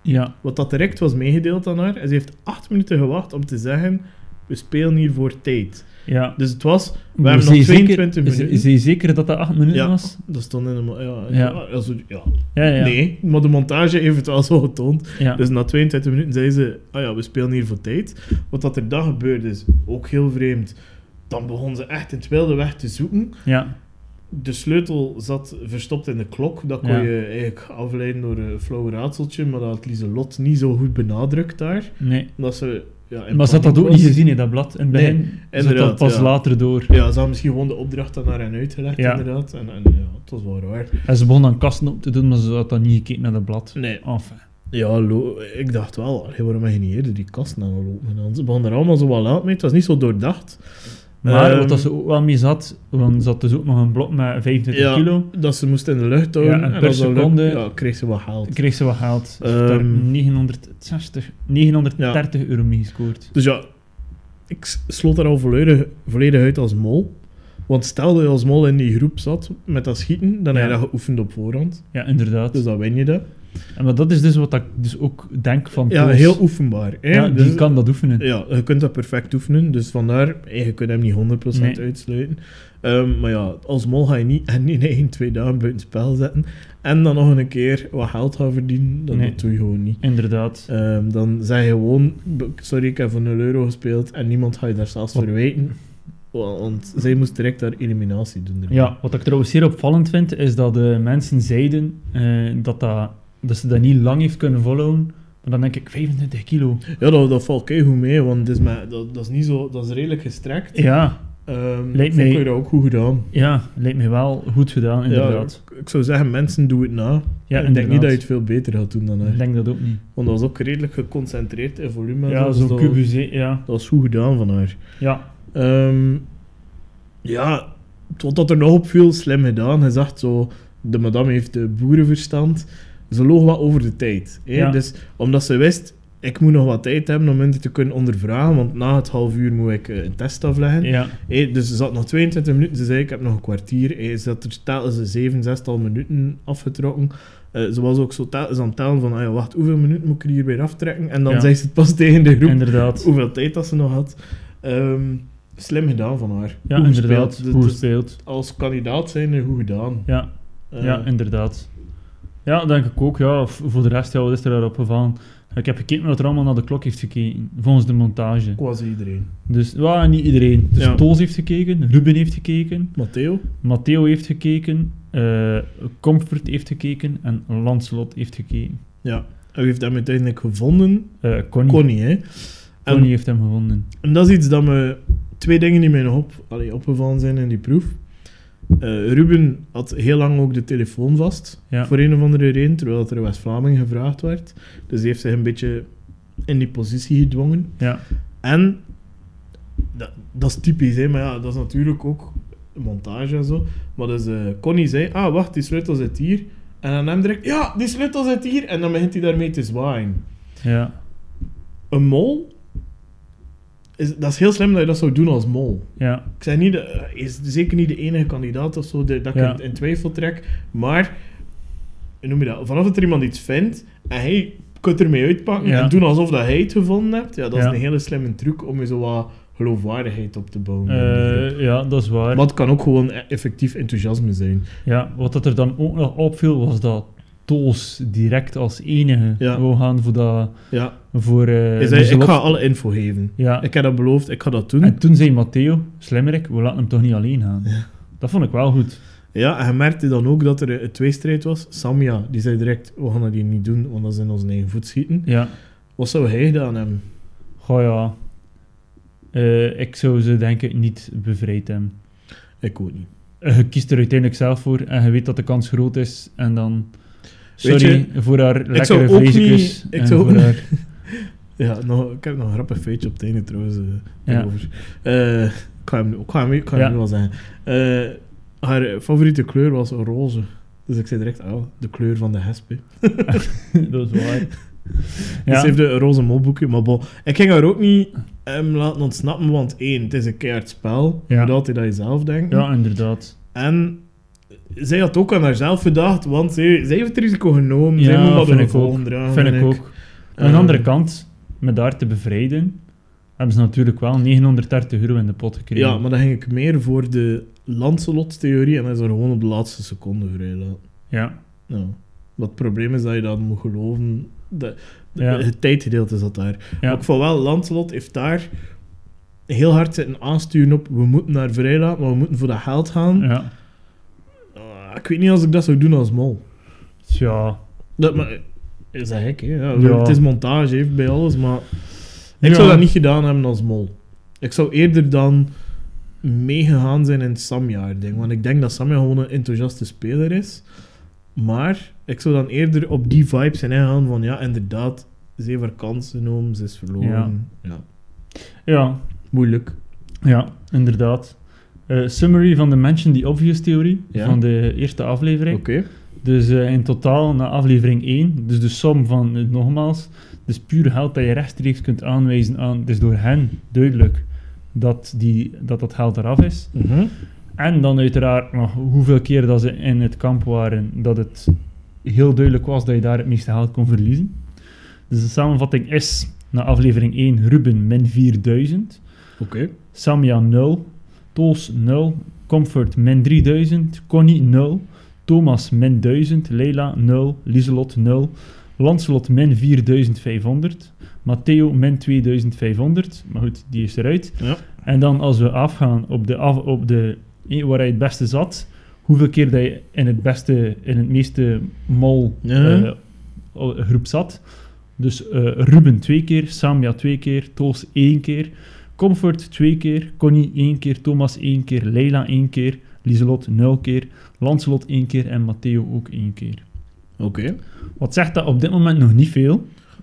Speaker 2: Ja,
Speaker 1: Wat dat direct was meegedeeld aan haar, en ze heeft acht minuten gewacht om te zeggen: we spelen hier voor tijd.
Speaker 2: ja.
Speaker 1: Dus het was, we
Speaker 2: Maar
Speaker 1: hebben
Speaker 2: is
Speaker 1: nog
Speaker 2: hij
Speaker 1: 22
Speaker 2: zeker, is-
Speaker 1: minuten.
Speaker 2: Is, hij zeker dat dat 8 minuten
Speaker 1: Ja.
Speaker 2: was?
Speaker 1: dat stond in de. mo- Ja,
Speaker 2: Ja.
Speaker 1: ja. also, ja.
Speaker 2: Ja, ja.
Speaker 1: Nee, maar de montage heeft het wel zo getoond.
Speaker 2: ja.
Speaker 1: Dus na 22 minuten zei ze: ah ja, we spelen hier voor tijd. Wat dat er dan gebeurde is ook heel vreemd. Dan begon ze echt in het wilde weg te zoeken.
Speaker 2: ja.
Speaker 1: De sleutel zat verstopt in de klok. Dat kon
Speaker 2: Ja.
Speaker 1: je eigenlijk afleiden door een flauw raadseltje. Maar dat had Lieselot niet zo goed benadrukt daar.
Speaker 2: Nee.
Speaker 1: Omdat ze, ja, in
Speaker 2: Maar ze had dat
Speaker 1: paniek
Speaker 2: ook
Speaker 1: was.
Speaker 2: niet gezien in dat blad. In het
Speaker 1: Nee,
Speaker 2: begin Ze had dat
Speaker 1: inderdaad,
Speaker 2: pas
Speaker 1: ja.
Speaker 2: later door.
Speaker 1: Ja, ze had misschien gewoon de opdracht aan haar hen uitgelegd,
Speaker 2: Ja.
Speaker 1: inderdaad. En, en ja, het was wel raar.
Speaker 2: En ze begon dan kasten op te doen, maar ze had dan niet gekeken naar dat blad. Oh,
Speaker 1: Nee.
Speaker 2: Enfin.
Speaker 1: Ja, lo- ik dacht wel, allee, waarom heb je niet eerder die kast naar lopen gedaan? Ze begonnen er allemaal zo wat laat mee, het was niet zo doordacht.
Speaker 2: Maar
Speaker 1: Ehm,
Speaker 2: wat dat ze ook wel mee zat, want ze had dus ook nog een blok met 25
Speaker 1: ja,
Speaker 2: kilo,
Speaker 1: Dat ze moest in de lucht houden.
Speaker 2: Ja, en per
Speaker 1: als dat
Speaker 2: seconde-
Speaker 1: lukte, ja, kreeg ze wat geld.
Speaker 2: kreeg ze wat geld. Ze heeft
Speaker 1: Ehm,
Speaker 2: daar 960, 930 euro mee gescoord.
Speaker 1: Dus ja, ik s- sloot daar al volledig, volledig uit als mol. Want stel dat je als mol in die groep zat met dat schieten, dan
Speaker 2: Ja.
Speaker 1: heb je dat geoefend op voorhand.
Speaker 2: Ja, inderdaad.
Speaker 1: Dus dan win je dat.
Speaker 2: En maar dat is dus wat ik dus ook denk van
Speaker 1: Ja,
Speaker 2: Toos.
Speaker 1: heel oefenbaar. Hè?
Speaker 2: Ja, die
Speaker 1: Dus-
Speaker 2: kan dat oefenen.
Speaker 1: Ja, je kunt dat perfect oefenen, dus vandaar, eh, je kunt hem niet 100%
Speaker 2: Nee.
Speaker 1: uitsluiten. Ehm, maar ja, als mol ga je niet (laughs) en in één, twee dagen buiten spel zetten en dan nog een keer wat geld gaan verdienen, dan
Speaker 2: Nee.
Speaker 1: dat doe je gewoon niet.
Speaker 2: Inderdaad.
Speaker 1: Ehm, dan zeg je gewoon, "B- sorry, ik heb voor 0 euro gespeeld en niemand gaat je daar zelfs
Speaker 2: Wat-
Speaker 1: voor weten, wa- want zij moest direct haar eliminatie doen. ermee.
Speaker 2: Ja, wat ik trouwens zeer opvallend vind, is dat de mensen zeiden eh, dat, dat, dat ze dat niet lang heeft kunnen volhouden. Maar dan denk ik 25 kilo.
Speaker 1: ja dat, dat valt keigoed mee, want het is maar, dat, dat is niet zo, dat is redelijk gestrekt.
Speaker 2: Ja,
Speaker 1: Ehm, Ehm
Speaker 2: Lijkt
Speaker 1: vond
Speaker 2: mij-
Speaker 1: ik dat ook goed gedaan.
Speaker 2: Ja, lijkt me wel goed gedaan, inderdaad.
Speaker 1: Ja, ik- ik zou zeggen, mensen, doe het na.
Speaker 2: Ja,
Speaker 1: ik denk niet dat je
Speaker 2: inderdaad.
Speaker 1: het veel beter gaat doen dan haar.
Speaker 2: Ik denk dat ook niet.
Speaker 1: Want dat was ook redelijk geconcentreerd in volume. en
Speaker 2: Ja,
Speaker 1: dus
Speaker 2: zo'n
Speaker 1: dat-
Speaker 2: kubus, ja.
Speaker 1: Dat was goed gedaan van haar.
Speaker 2: Ja,
Speaker 1: Ehm, ja, wat dat er nog op viel, slim gedaan. Hij zegt zo, de madame heeft de boerenverstand. Ze loog wat over de tijd. Hè?
Speaker 2: Ja.
Speaker 1: Dus omdat ze wist, ik moet nog wat tijd hebben om mensen te kunnen ondervragen, want na het half uur moet ik eh, een test afleggen.
Speaker 2: ja.
Speaker 1: Hé, dus ze zat nog 22 minuten. Ze zei, ik heb nog een kwartier. Hé, ze had er telkens een zeven, zestal minuten afgetrokken. Eh, ze was ook zo telkens aan het tellen van, ah ja, wacht, hoeveel minuten moet ik er hier weer aftrekken? En dan
Speaker 2: Ja.
Speaker 1: zei ze het pas tegen de groep
Speaker 2: inderdaad.
Speaker 1: hoeveel tijd dat ze nog had. Ehm, slim gedaan van haar.
Speaker 2: Ja,
Speaker 1: Goed
Speaker 2: inderdaad.
Speaker 1: gespeeld.
Speaker 2: Hoe
Speaker 1: Dus
Speaker 2: speelt.
Speaker 1: Als kandidaat zijn er goed gedaan.
Speaker 2: Ja.
Speaker 1: Eh,
Speaker 2: Ja, inderdaad. Ja, denk ik ook. Ja. V- Voor de rest, ja, wat is er daarop gevallen? Ik heb gekeken wat er allemaal naar de klok heeft gekeken, volgens de montage.
Speaker 1: Quasi iedereen.
Speaker 2: Dus ja, niet iedereen. Dus
Speaker 1: Ja.
Speaker 2: Toos heeft gekeken, Ruben heeft gekeken,
Speaker 1: Matteo?
Speaker 2: Matteo heeft gekeken, eh, Comfort heeft gekeken en Lancelot heeft gekeken.
Speaker 1: Ja. En wie heeft hem uiteindelijk gevonden?
Speaker 2: Eh Connie. Connie.
Speaker 1: Connie, hè?
Speaker 2: heeft hem gevonden.
Speaker 1: En dat is iets dat me... Twee dingen die mij nog op, allee, opgevallen zijn in die proef. Eh, Ruben had heel lang ook de telefoon vast.
Speaker 2: Ja.
Speaker 1: Voor een of andere reden, terwijl dat er West-Vlaming gevraagd werd. Dus die heeft zich een beetje in die positie gedwongen.
Speaker 2: Ja,
Speaker 1: En dat, dat is typisch, hè, maar ja, dat is natuurlijk ook montage en zo. Maar dus eh, Connie zei: Ah, wacht, die sleutel zit hier. En dan hem direct: Ja, die sleutel zit hier. En dan begint hij daarmee te zwaaien.
Speaker 2: ja,
Speaker 1: Een mol. Is, dat is heel slim dat je dat zou doen als mol.
Speaker 2: ja,
Speaker 1: Ik zeg niet, de- eh, is zeker niet de enige kandidaat of zo die- dat ik
Speaker 2: Ja.
Speaker 1: in, in twijfel trek. Maar, hoe noem je dat? Vanaf dat er iemand iets vindt en hij kunt ermee uitpakken
Speaker 2: Ja.
Speaker 1: en doen alsof dat hij het gevonden hebt, ja, dat
Speaker 2: Ja.
Speaker 1: is een hele slimme truc om je zo wat geloofwaardigheid op te bouwen.
Speaker 2: Eh, ja, dat is waar.
Speaker 1: maar het kan ook gewoon e- effectief enthousiasme zijn.
Speaker 2: Ja, wat dat er dan ook nog opviel, was dat Toos direct als enige
Speaker 1: Ja.
Speaker 2: wou gaan voor dat...
Speaker 1: Ja.
Speaker 2: Voor, eh,
Speaker 1: Hij zei,
Speaker 2: de
Speaker 1: ik
Speaker 2: zalot-
Speaker 1: ga alle info geven.
Speaker 2: Ja,
Speaker 1: Ik heb dat beloofd, ik ga dat doen.
Speaker 2: en toen zei Matteo, slimmerik, we laten hem toch niet alleen gaan. Dat vond ik wel goed.
Speaker 1: Ja, en je merkte dan ook dat er een een tweestrijd was. Samia, die zei direct, we gaan dat hier niet doen, want dat is in onze eigen voet schieten.
Speaker 2: Ja,
Speaker 1: Wat zou hij gedaan hebben?
Speaker 2: goh ja. Eh, ik zou ze denk ik niet bevrijd hebben.
Speaker 1: Ik ook niet.
Speaker 2: Eh, je kiest er uiteindelijk zelf voor en je weet dat de kans groot is en dan...
Speaker 1: Weet
Speaker 2: Sorry voor haar
Speaker 1: zou
Speaker 2: lekkere
Speaker 1: ook niet-
Speaker 2: vleesjes.
Speaker 1: ik
Speaker 2: en
Speaker 1: zou ook
Speaker 2: voor
Speaker 1: niet-
Speaker 2: haar-
Speaker 1: Ja, nog, ik heb nog een grappig feitje op het einde trouwens. eh,
Speaker 2: Ja.
Speaker 1: hierover. Eh, ik ga hem, ik ga hem, ik ga hem
Speaker 2: Ja.
Speaker 1: nu wel zeggen. Eh, haar favoriete kleur was roze. Dus ik zei direct, oh, de kleur van de hesp. hè.
Speaker 2: (laughs) dat is waar.
Speaker 1: Dus ze
Speaker 2: Ja,
Speaker 1: heeft een roze molboekje. Maar bon, ik ging haar ook niet em, laten ontsnappen, want één, het is een keihard spel. Je
Speaker 2: Ja.
Speaker 1: moet altijd aan jezelf denken.
Speaker 2: ja, inderdaad.
Speaker 1: En zij had ook aan haarzelf gedacht, want zij, zij heeft het risico genomen. zij
Speaker 2: Ja,
Speaker 1: moet maar
Speaker 2: vind
Speaker 1: de
Speaker 2: ik ook.
Speaker 1: gevolgen dragen.
Speaker 2: vind ik
Speaker 1: vind
Speaker 2: ook. Aan de
Speaker 1: Eh,
Speaker 2: andere kant, met daar te bevrijden, hebben ze natuurlijk wel 930 euro in de pot gekregen.
Speaker 1: Ja, maar dan ging ik meer voor de Lancelot-theorie en hij is er gewoon op de laatste seconde vrijlaten.
Speaker 2: Ja,
Speaker 1: Ja. Maar het probleem is dat je dat moet geloven. De, de-
Speaker 2: Ja.
Speaker 1: Het tijdgedeelte zat daar.
Speaker 2: Ja.
Speaker 1: Maar ik vond wel, Lancelot heeft daar heel hard zitten aansturen op we moeten naar vrijlaten, maar we moeten voor dat geld gaan.
Speaker 2: ja.
Speaker 1: Ah, ik weet niet als ik dat zou doen als mol.
Speaker 2: Ja,
Speaker 1: Dat, maar, is dat gek, hè? Ja,
Speaker 2: Ja.
Speaker 1: Het is montage, hè, bij alles, maar... Ik
Speaker 2: Ja.
Speaker 1: zou dat niet gedaan hebben als mol. Ik zou eerder dan meegegaan zijn in het Samjaar-ding. Want ik denk dat Samja gewoon een enthousiaste speler is. Maar ik zou dan eerder op die vibe zijn ingegaan van... Ja, inderdaad, ze heeft haar kans genomen, ze is verloren. Ja.
Speaker 2: ja,
Speaker 1: Moeilijk.
Speaker 2: ja, inderdaad. Eh, summary van de Mention the Obvious theorie
Speaker 1: Ja.
Speaker 2: van de eerste aflevering.
Speaker 1: Oké.
Speaker 2: Dus eh, in totaal, na aflevering 1, dus de som van, eh, nogmaals, dus puur geld dat je rechtstreeks kunt aanwijzen aan, dus door hen duidelijk dat die, dat, dat geld eraf is.
Speaker 1: Mhm.
Speaker 2: En dan uiteraard nog hoeveel keer dat ze in het kamp waren, dat het heel duidelijk was dat je daar het meeste geld kon verliezen. Dus de samenvatting is, na aflevering 1, Ruben min 4000,
Speaker 1: Oké.
Speaker 2: Samia 0, Toos 0, Comfort min 3000, Connie 0, Thomas min 1000, Leila 0, Lieselot 0, Lancelot min 4500, Matteo min 2500, maar goed, die is eruit.
Speaker 1: Ja.
Speaker 2: En dan als we afgaan op de, af, op de eh, waar hij het beste zat, hoeveel keer dat je in het beste, in het meeste mol
Speaker 1: Ja.
Speaker 2: eh, o- groep zat. Dus eh, Ruben twee keer, Samia twee keer, Toos één keer, Comfort twee keer, Connie één keer, Thomas één keer, Leila één keer, Lieselot nul keer, Lancelot één keer en Matteo ook één keer.
Speaker 1: Oké.
Speaker 2: Wat zegt dat op dit moment nog niet veel?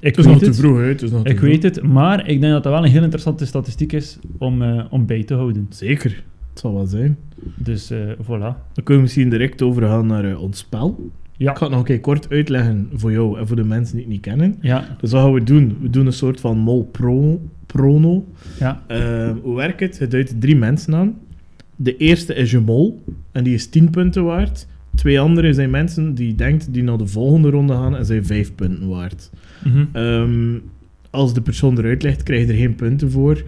Speaker 2: Ik
Speaker 1: Het is nog
Speaker 2: weet
Speaker 1: te
Speaker 2: het,
Speaker 1: vroeg, hè. Het is nog te
Speaker 2: ik
Speaker 1: vroeg.
Speaker 2: weet het, maar ik denk dat dat wel een heel interessante statistiek is om, eh, om bij te houden.
Speaker 1: Zeker. Het zal wel zijn.
Speaker 2: Dus eh, voilà.
Speaker 1: Dan kunnen we misschien direct overgaan naar eh, ons spel.
Speaker 2: Ja.
Speaker 1: Ik ga het nog een keer kort uitleggen voor jou en voor de mensen die het niet kennen.
Speaker 2: Ja,
Speaker 1: Dus wat gaan we doen? We doen een soort van mol pro, prono.
Speaker 2: ja,
Speaker 1: Eh, hoe werkt het? Het duidt drie mensen aan. De eerste is je mol, en die is 10 punten waard. Twee andere zijn mensen die je denkt die naar de volgende ronde gaan en zijn 5 punten waard.
Speaker 2: mhm,
Speaker 1: Ehm, als de persoon eruit ligt, krijg je er geen punten voor.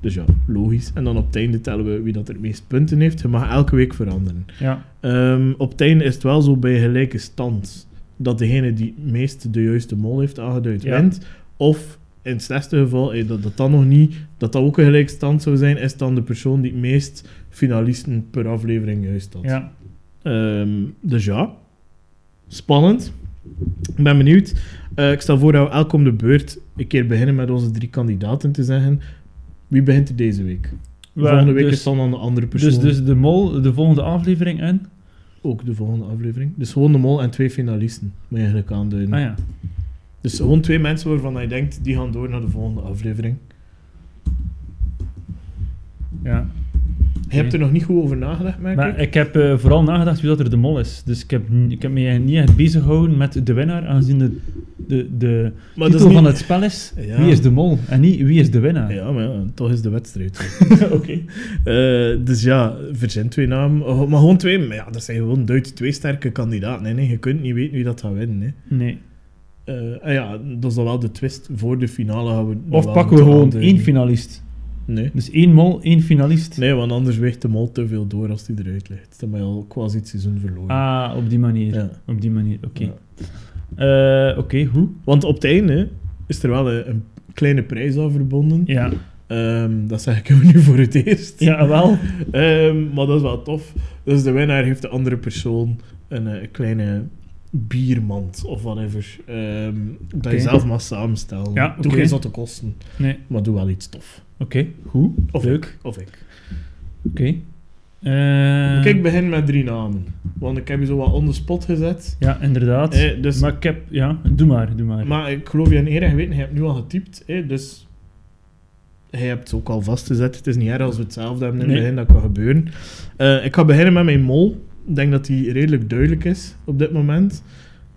Speaker 1: Dus ja, logisch. En dan op het einde tellen we wie dat er het meest punten heeft. Je mag elke week veranderen.
Speaker 2: ja,
Speaker 1: Ehm, op het einde is het wel zo bij gelijke stand dat degene die het meest de juiste mol heeft aangeduid
Speaker 2: Ja.
Speaker 1: wint. Of in het slechtste geval, eh, dat dat dan nog niet, dat dat ook een gelijke stand zou zijn, is dan de persoon die het meest finalisten per aflevering juist had.
Speaker 2: ja.
Speaker 1: Ehm, dus ja, spannend. Ik ben benieuwd. Eh, ik stel voor dat we elk om de beurt een keer beginnen met onze drie kandidaten te zeggen. Wie begint er deze week? volgende week
Speaker 2: dus,
Speaker 1: is dan aan de andere persoon.
Speaker 2: dus, dus de mol, de volgende aflevering in.
Speaker 1: Ook de volgende aflevering. Dus gewoon de mol en twee finalisten. Moet je eigenlijk aanduiden.
Speaker 2: Ah ja.
Speaker 1: Dus gewoon twee mensen waarvan je denkt, die gaan door naar de volgende aflevering.
Speaker 2: ja.
Speaker 1: Je hebt er nog niet goed over nagedacht, merk
Speaker 2: Maar
Speaker 1: ik.
Speaker 2: ik heb eh, vooral nagedacht wie dat er de mol is. Dus ik heb, n- ik heb me niet echt bezig gehouden met de winnaar, aangezien de, de, de
Speaker 1: Maar
Speaker 2: titel van het spel is
Speaker 1: Ja.
Speaker 2: Wie is de mol? En niet Wie is de winnaar?
Speaker 1: Ja, maar ja, toch is de wedstrijd.
Speaker 2: (laughs) Oké.
Speaker 1: Eh, dus ja, verzin twee namen. Oh, maar gewoon twee. Maar ja, dat zijn gewoon Duits twee sterke kandidaten. Hè, nee. Je kunt niet weten wie dat gaat winnen. Hè.
Speaker 2: Nee.
Speaker 1: Eh, ah ja, dat is dan wel de twist voor de finale. Gaan we dat
Speaker 2: Of
Speaker 1: wel
Speaker 2: pakken we
Speaker 1: moeten
Speaker 2: gewoon
Speaker 1: aanduiden.
Speaker 2: één finalist.
Speaker 1: Nee.
Speaker 2: Dus één mol, één finalist.
Speaker 1: nee, want anders weegt de mol te veel door als die eruit ligt. Dan ben je al quasi het seizoen verloren.
Speaker 2: Ah, op die manier.
Speaker 1: Ja.
Speaker 2: Op die manier, oké.
Speaker 1: Ja.
Speaker 2: Eh, oké, hoe?
Speaker 1: Want op het einde is er wel eh, een, een kleine prijs aan verbonden.
Speaker 2: Ja.
Speaker 1: Ehm, dat zeg ik (laughs) jou nu voor het eerst.
Speaker 2: ja,
Speaker 1: (laughs)
Speaker 2: wel.
Speaker 1: Ehm, maar dat is wel tof. Dus de winnaar heeft de andere persoon een eh, kleine biermand of whatever. ehm, Dat je
Speaker 2: Oké.
Speaker 1: zelf mag samenstellen.
Speaker 2: Ja,
Speaker 1: Doe
Speaker 2: oké.
Speaker 1: geen zotte kosten,
Speaker 2: Nee.
Speaker 1: maar doe wel iets tof.
Speaker 2: Oké, hoe?
Speaker 1: Of
Speaker 2: Leuk.
Speaker 1: ik. Of ik.
Speaker 2: Oké. Eh,
Speaker 1: Kijk, ik begin met drie namen. Want ik heb je zo wat on the spot gezet.
Speaker 2: Ja, inderdaad.
Speaker 1: Eh, dus, maar,
Speaker 2: maar ik heb... Ja, doe maar, doe maar.
Speaker 1: ik geloof je in eer en geweten, je hebt nu al getypt. eh, dus hij hebt het ook al vastgezet. Het is niet erg als we hetzelfde hebben in het
Speaker 2: Nee.
Speaker 1: begin, dat kan gebeuren. Eh, ik ga beginnen met mijn mol. Ik denk dat die redelijk duidelijk is op dit moment.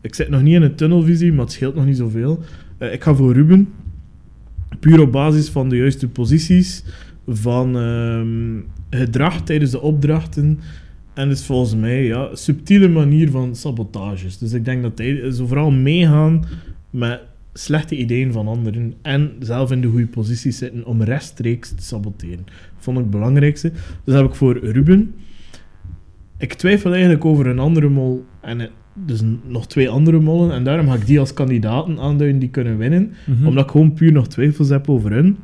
Speaker 1: Ik zit nog niet in een tunnelvisie, maar het scheelt nog niet zoveel. Eh, ik ga voor Ruben. Puur op basis van de juiste posities, van ehm, gedrag tijdens de opdrachten. En dus volgens mij ja, een subtiele manier van sabotages. Dus ik denk dat hij zo vooral meegaan met slechte ideeën van anderen en zelf in de goede posities zitten om rechtstreeks te saboteren. Vond ik het belangrijkste. Dus heb ik voor Ruben. Ik twijfel eigenlijk over een andere mol en eh, dus n- nog twee andere mollen. En daarom ga ik die als kandidaten aanduiden die kunnen winnen.
Speaker 2: Mhm.
Speaker 1: Omdat ik gewoon puur nog twijfels heb over hun.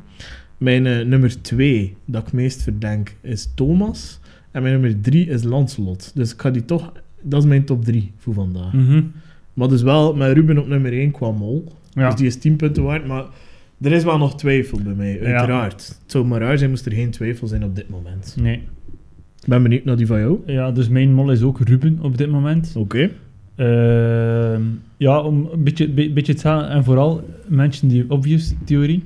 Speaker 1: Mijn eh, nummer twee dat ik meest verdenk is Thomas. En mijn nummer drie is Lancelot. Dus ik ga die toch... Dat is mijn top drie voor vandaag.
Speaker 2: Mhm.
Speaker 1: Maar dus wel met Ruben op nummer 1 qua mol.
Speaker 2: Ja.
Speaker 1: Dus die is 10 punten waard. Maar er is wel nog twijfel bij mij, uiteraard. Het zou maar raar zijn moest er geen twijfel zijn op dit moment.
Speaker 2: Nee.
Speaker 1: Ik ben benieuwd naar die van jou. Oké.
Speaker 2: Ja, dus mijn mol is ook Ruben op dit moment. Ehm, ja, om een beetje, be- beetje hetzelfde. En vooral mensen die obvious theorie.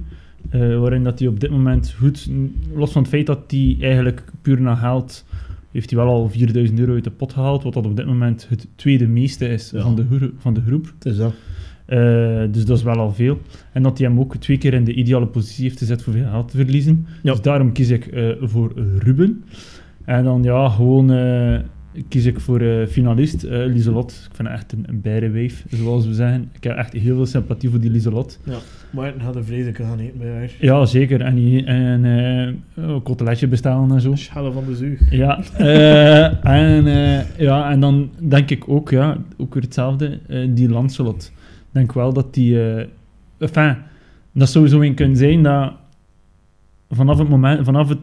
Speaker 2: eh, waarin dat hij op dit moment goed, n- los van het feit dat hij eigenlijk puur naar geld, heeft hij wel al 4000 euro uit de pot gehaald, wat dat op dit moment het tweede meeste is
Speaker 1: Ja.
Speaker 2: van, de groe- van de groep.
Speaker 1: Het is dat.
Speaker 2: Eh, dus dat is wel al veel. En dat hij hem ook twee keer in de ideale positie heeft gezet voor veel geld te verliezen.
Speaker 1: Ja.
Speaker 2: Dus daarom kies ik eh, voor Ruben. En dan ja, gewoon eh, kies ik voor eh, finalist eh Lieselot. Ik vind haar echt een, een bijenwijf, zoals we zeggen. Ik heb echt heel veel sympathie voor die Lieselot.
Speaker 1: Maarten had een vreselijke gaan eten bij haar.
Speaker 2: Ja, zeker. En, die- en eh, een koteletje bestellen en zo.
Speaker 1: Schellen van de zuig.
Speaker 2: Ja, (laughs) eh, en, eh, ja, en dan denk ik ook, ja, ook weer hetzelfde, eh, die Lancelot. Ik denk wel dat die... eh enfin, dat zou zo een kunnen zijn dat vanaf het moment... Vanaf het,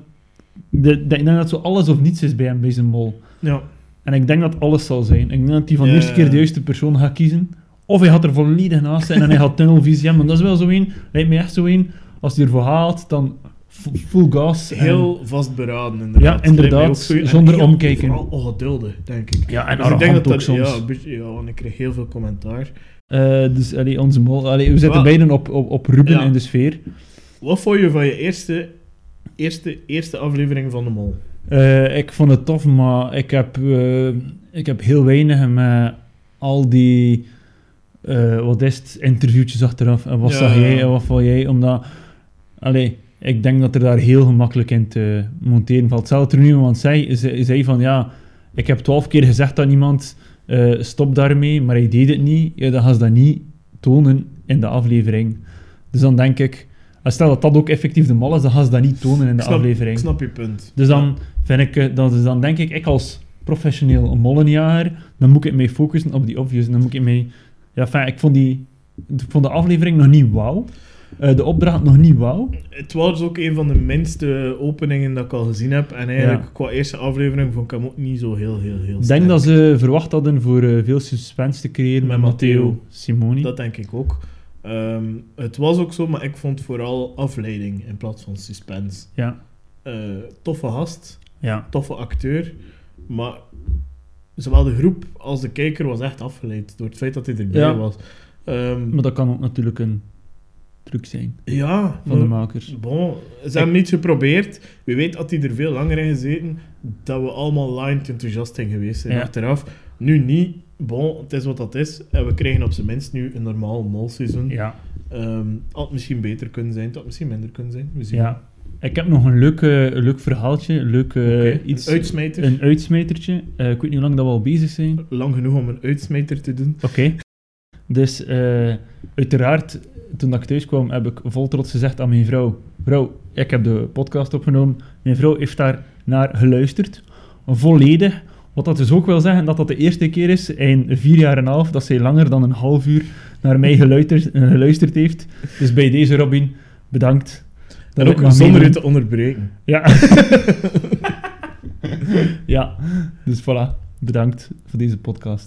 Speaker 2: de, de- ik denk dat zo alles of niets is bij hem, bij zijn mol.
Speaker 1: Ja.
Speaker 2: En ik denk dat alles zal zijn. Ik denk dat hij van
Speaker 1: Ja,
Speaker 2: de eerste
Speaker 1: ja.
Speaker 2: keer de juiste persoon gaat kiezen. Of hij gaat er volledig naast zijn en hij gaat tunnelvisie hebben. Want dat is wel zo een, lijkt mij echt zo een, als hij ervoor haalt, dan f- full gas. en-
Speaker 1: Heel vastberaden, Ehm, inderdaad.
Speaker 2: Ja, inderdaad,
Speaker 1: Lijkt mij zo- en
Speaker 2: zonder
Speaker 1: heel-
Speaker 2: omkijken.
Speaker 1: Vooral ongeduldig, denk ik.
Speaker 2: ja, en
Speaker 1: Dus ik
Speaker 2: arrogant
Speaker 1: denk dat
Speaker 2: ook
Speaker 1: dat,
Speaker 2: soms.
Speaker 1: Ja, een beetje- ja, want ik kreeg heel veel commentaar.
Speaker 2: Eh, dus allee, onze mol. Allee, we zitten
Speaker 1: Wel-
Speaker 2: beiden op, op, op Ruben
Speaker 1: Ja.
Speaker 2: in de sfeer.
Speaker 1: Wat vond je van je eerste, eerste, eerste aflevering van De Mol?
Speaker 2: Eh, ik vond het tof, maar ik heb, eh, ik heb heel weinig met al die eh, wat is het, interviewtjes achteraf. En wat
Speaker 1: Ja,
Speaker 2: zag
Speaker 1: ja.
Speaker 2: jij en wat vond jij? Omdat, allee, ik denk dat er daar heel gemakkelijk in te monteren valt. Zelfs er nu iemand zei, ze- zei van ja, ik heb twaalf keer gezegd dat niemand eh, stop daarmee, maar hij deed het niet. Ja, dan gaan ze dat niet tonen in de aflevering. Dus dan denk ik, en stel dat dat ook effectief de mal is, dan gaan ze dat niet tonen in
Speaker 1: Ik
Speaker 2: de
Speaker 1: snap-
Speaker 2: aflevering.
Speaker 1: Ik snap je punt.
Speaker 2: Dus dan, vind ik, eh, dan, dus dan denk ik, ik als professioneel mollenjager, dan moet ik mij focussen op die obvious. Dan moet ik mij... Ja, fijn, ik vond die... Ik vond de aflevering nog niet wauw. Eh, de opdracht nog niet wauw.
Speaker 1: Het was ook een van de minste openingen dat ik al gezien heb. En eigenlijk
Speaker 2: Ja.
Speaker 1: qua eerste aflevering vond ik hem ook niet zo heel, heel, heel
Speaker 2: Ik
Speaker 1: sterk.
Speaker 2: denk dat ze verwacht hadden voor eh, veel suspense te creëren
Speaker 1: Met
Speaker 2: met
Speaker 1: Matteo.
Speaker 2: Matteo Simoni.
Speaker 1: Dat denk ik ook. Ehm, het was ook zo, maar ik vond vooral afleiding in plaats van suspense.
Speaker 2: Ja,
Speaker 1: Eh, toffe gast,
Speaker 2: ja.
Speaker 1: toffe acteur. Maar zowel de groep als de kijker was echt afgeleid door het feit dat hij erbij
Speaker 2: Ja.
Speaker 1: was. Ehm,
Speaker 2: Maar dat kan ook natuurlijk een truc zijn
Speaker 1: ja,
Speaker 2: van de
Speaker 1: maar-
Speaker 2: makers.
Speaker 1: Bon, ze hebben niet geprobeerd. Wie weet had hij er veel langer in gezeten, dat we allemaal lined enthousiast zijn geweest zijn
Speaker 2: Ja.
Speaker 1: achteraf. Nu niet. Bon, het is wat dat is. En we krijgen op zijn minst nu een normaal molseizoen.
Speaker 2: Ja.
Speaker 1: Ehm, had misschien beter kunnen zijn, het had misschien minder kunnen zijn. We zien.
Speaker 2: ja. Ik heb nog een leuk, eh, een leuk verhaaltje. Een leuk eh,
Speaker 1: Oké,
Speaker 2: iets...
Speaker 1: Een uitsmijter.
Speaker 2: Een uitsmijtertje. Eh, ik weet niet hoe lang dat we al bezig zijn.
Speaker 1: Lang genoeg om een uitsmijter te doen.
Speaker 2: Oké. Dus eh, uiteraard, toen dat ik thuis kwam, heb ik vol trots gezegd aan mijn vrouw: Vrouw, ik heb de podcast opgenomen. Mijn vrouw heeft daar naar geluisterd. Volledig. Wat dat dus ook wil zeggen dat dat de eerste keer is in vier jaar en een half dat zij langer dan een half uur naar mij geluisterd, geluisterd heeft. Dus bij deze, Robin, bedankt. Dat
Speaker 1: En
Speaker 2: ik
Speaker 1: ook
Speaker 2: mag
Speaker 1: zonder u
Speaker 2: meedoen.
Speaker 1: te onderbreken.
Speaker 2: Ja. (laughs) ja, dus voilà. Bedankt voor deze podcast.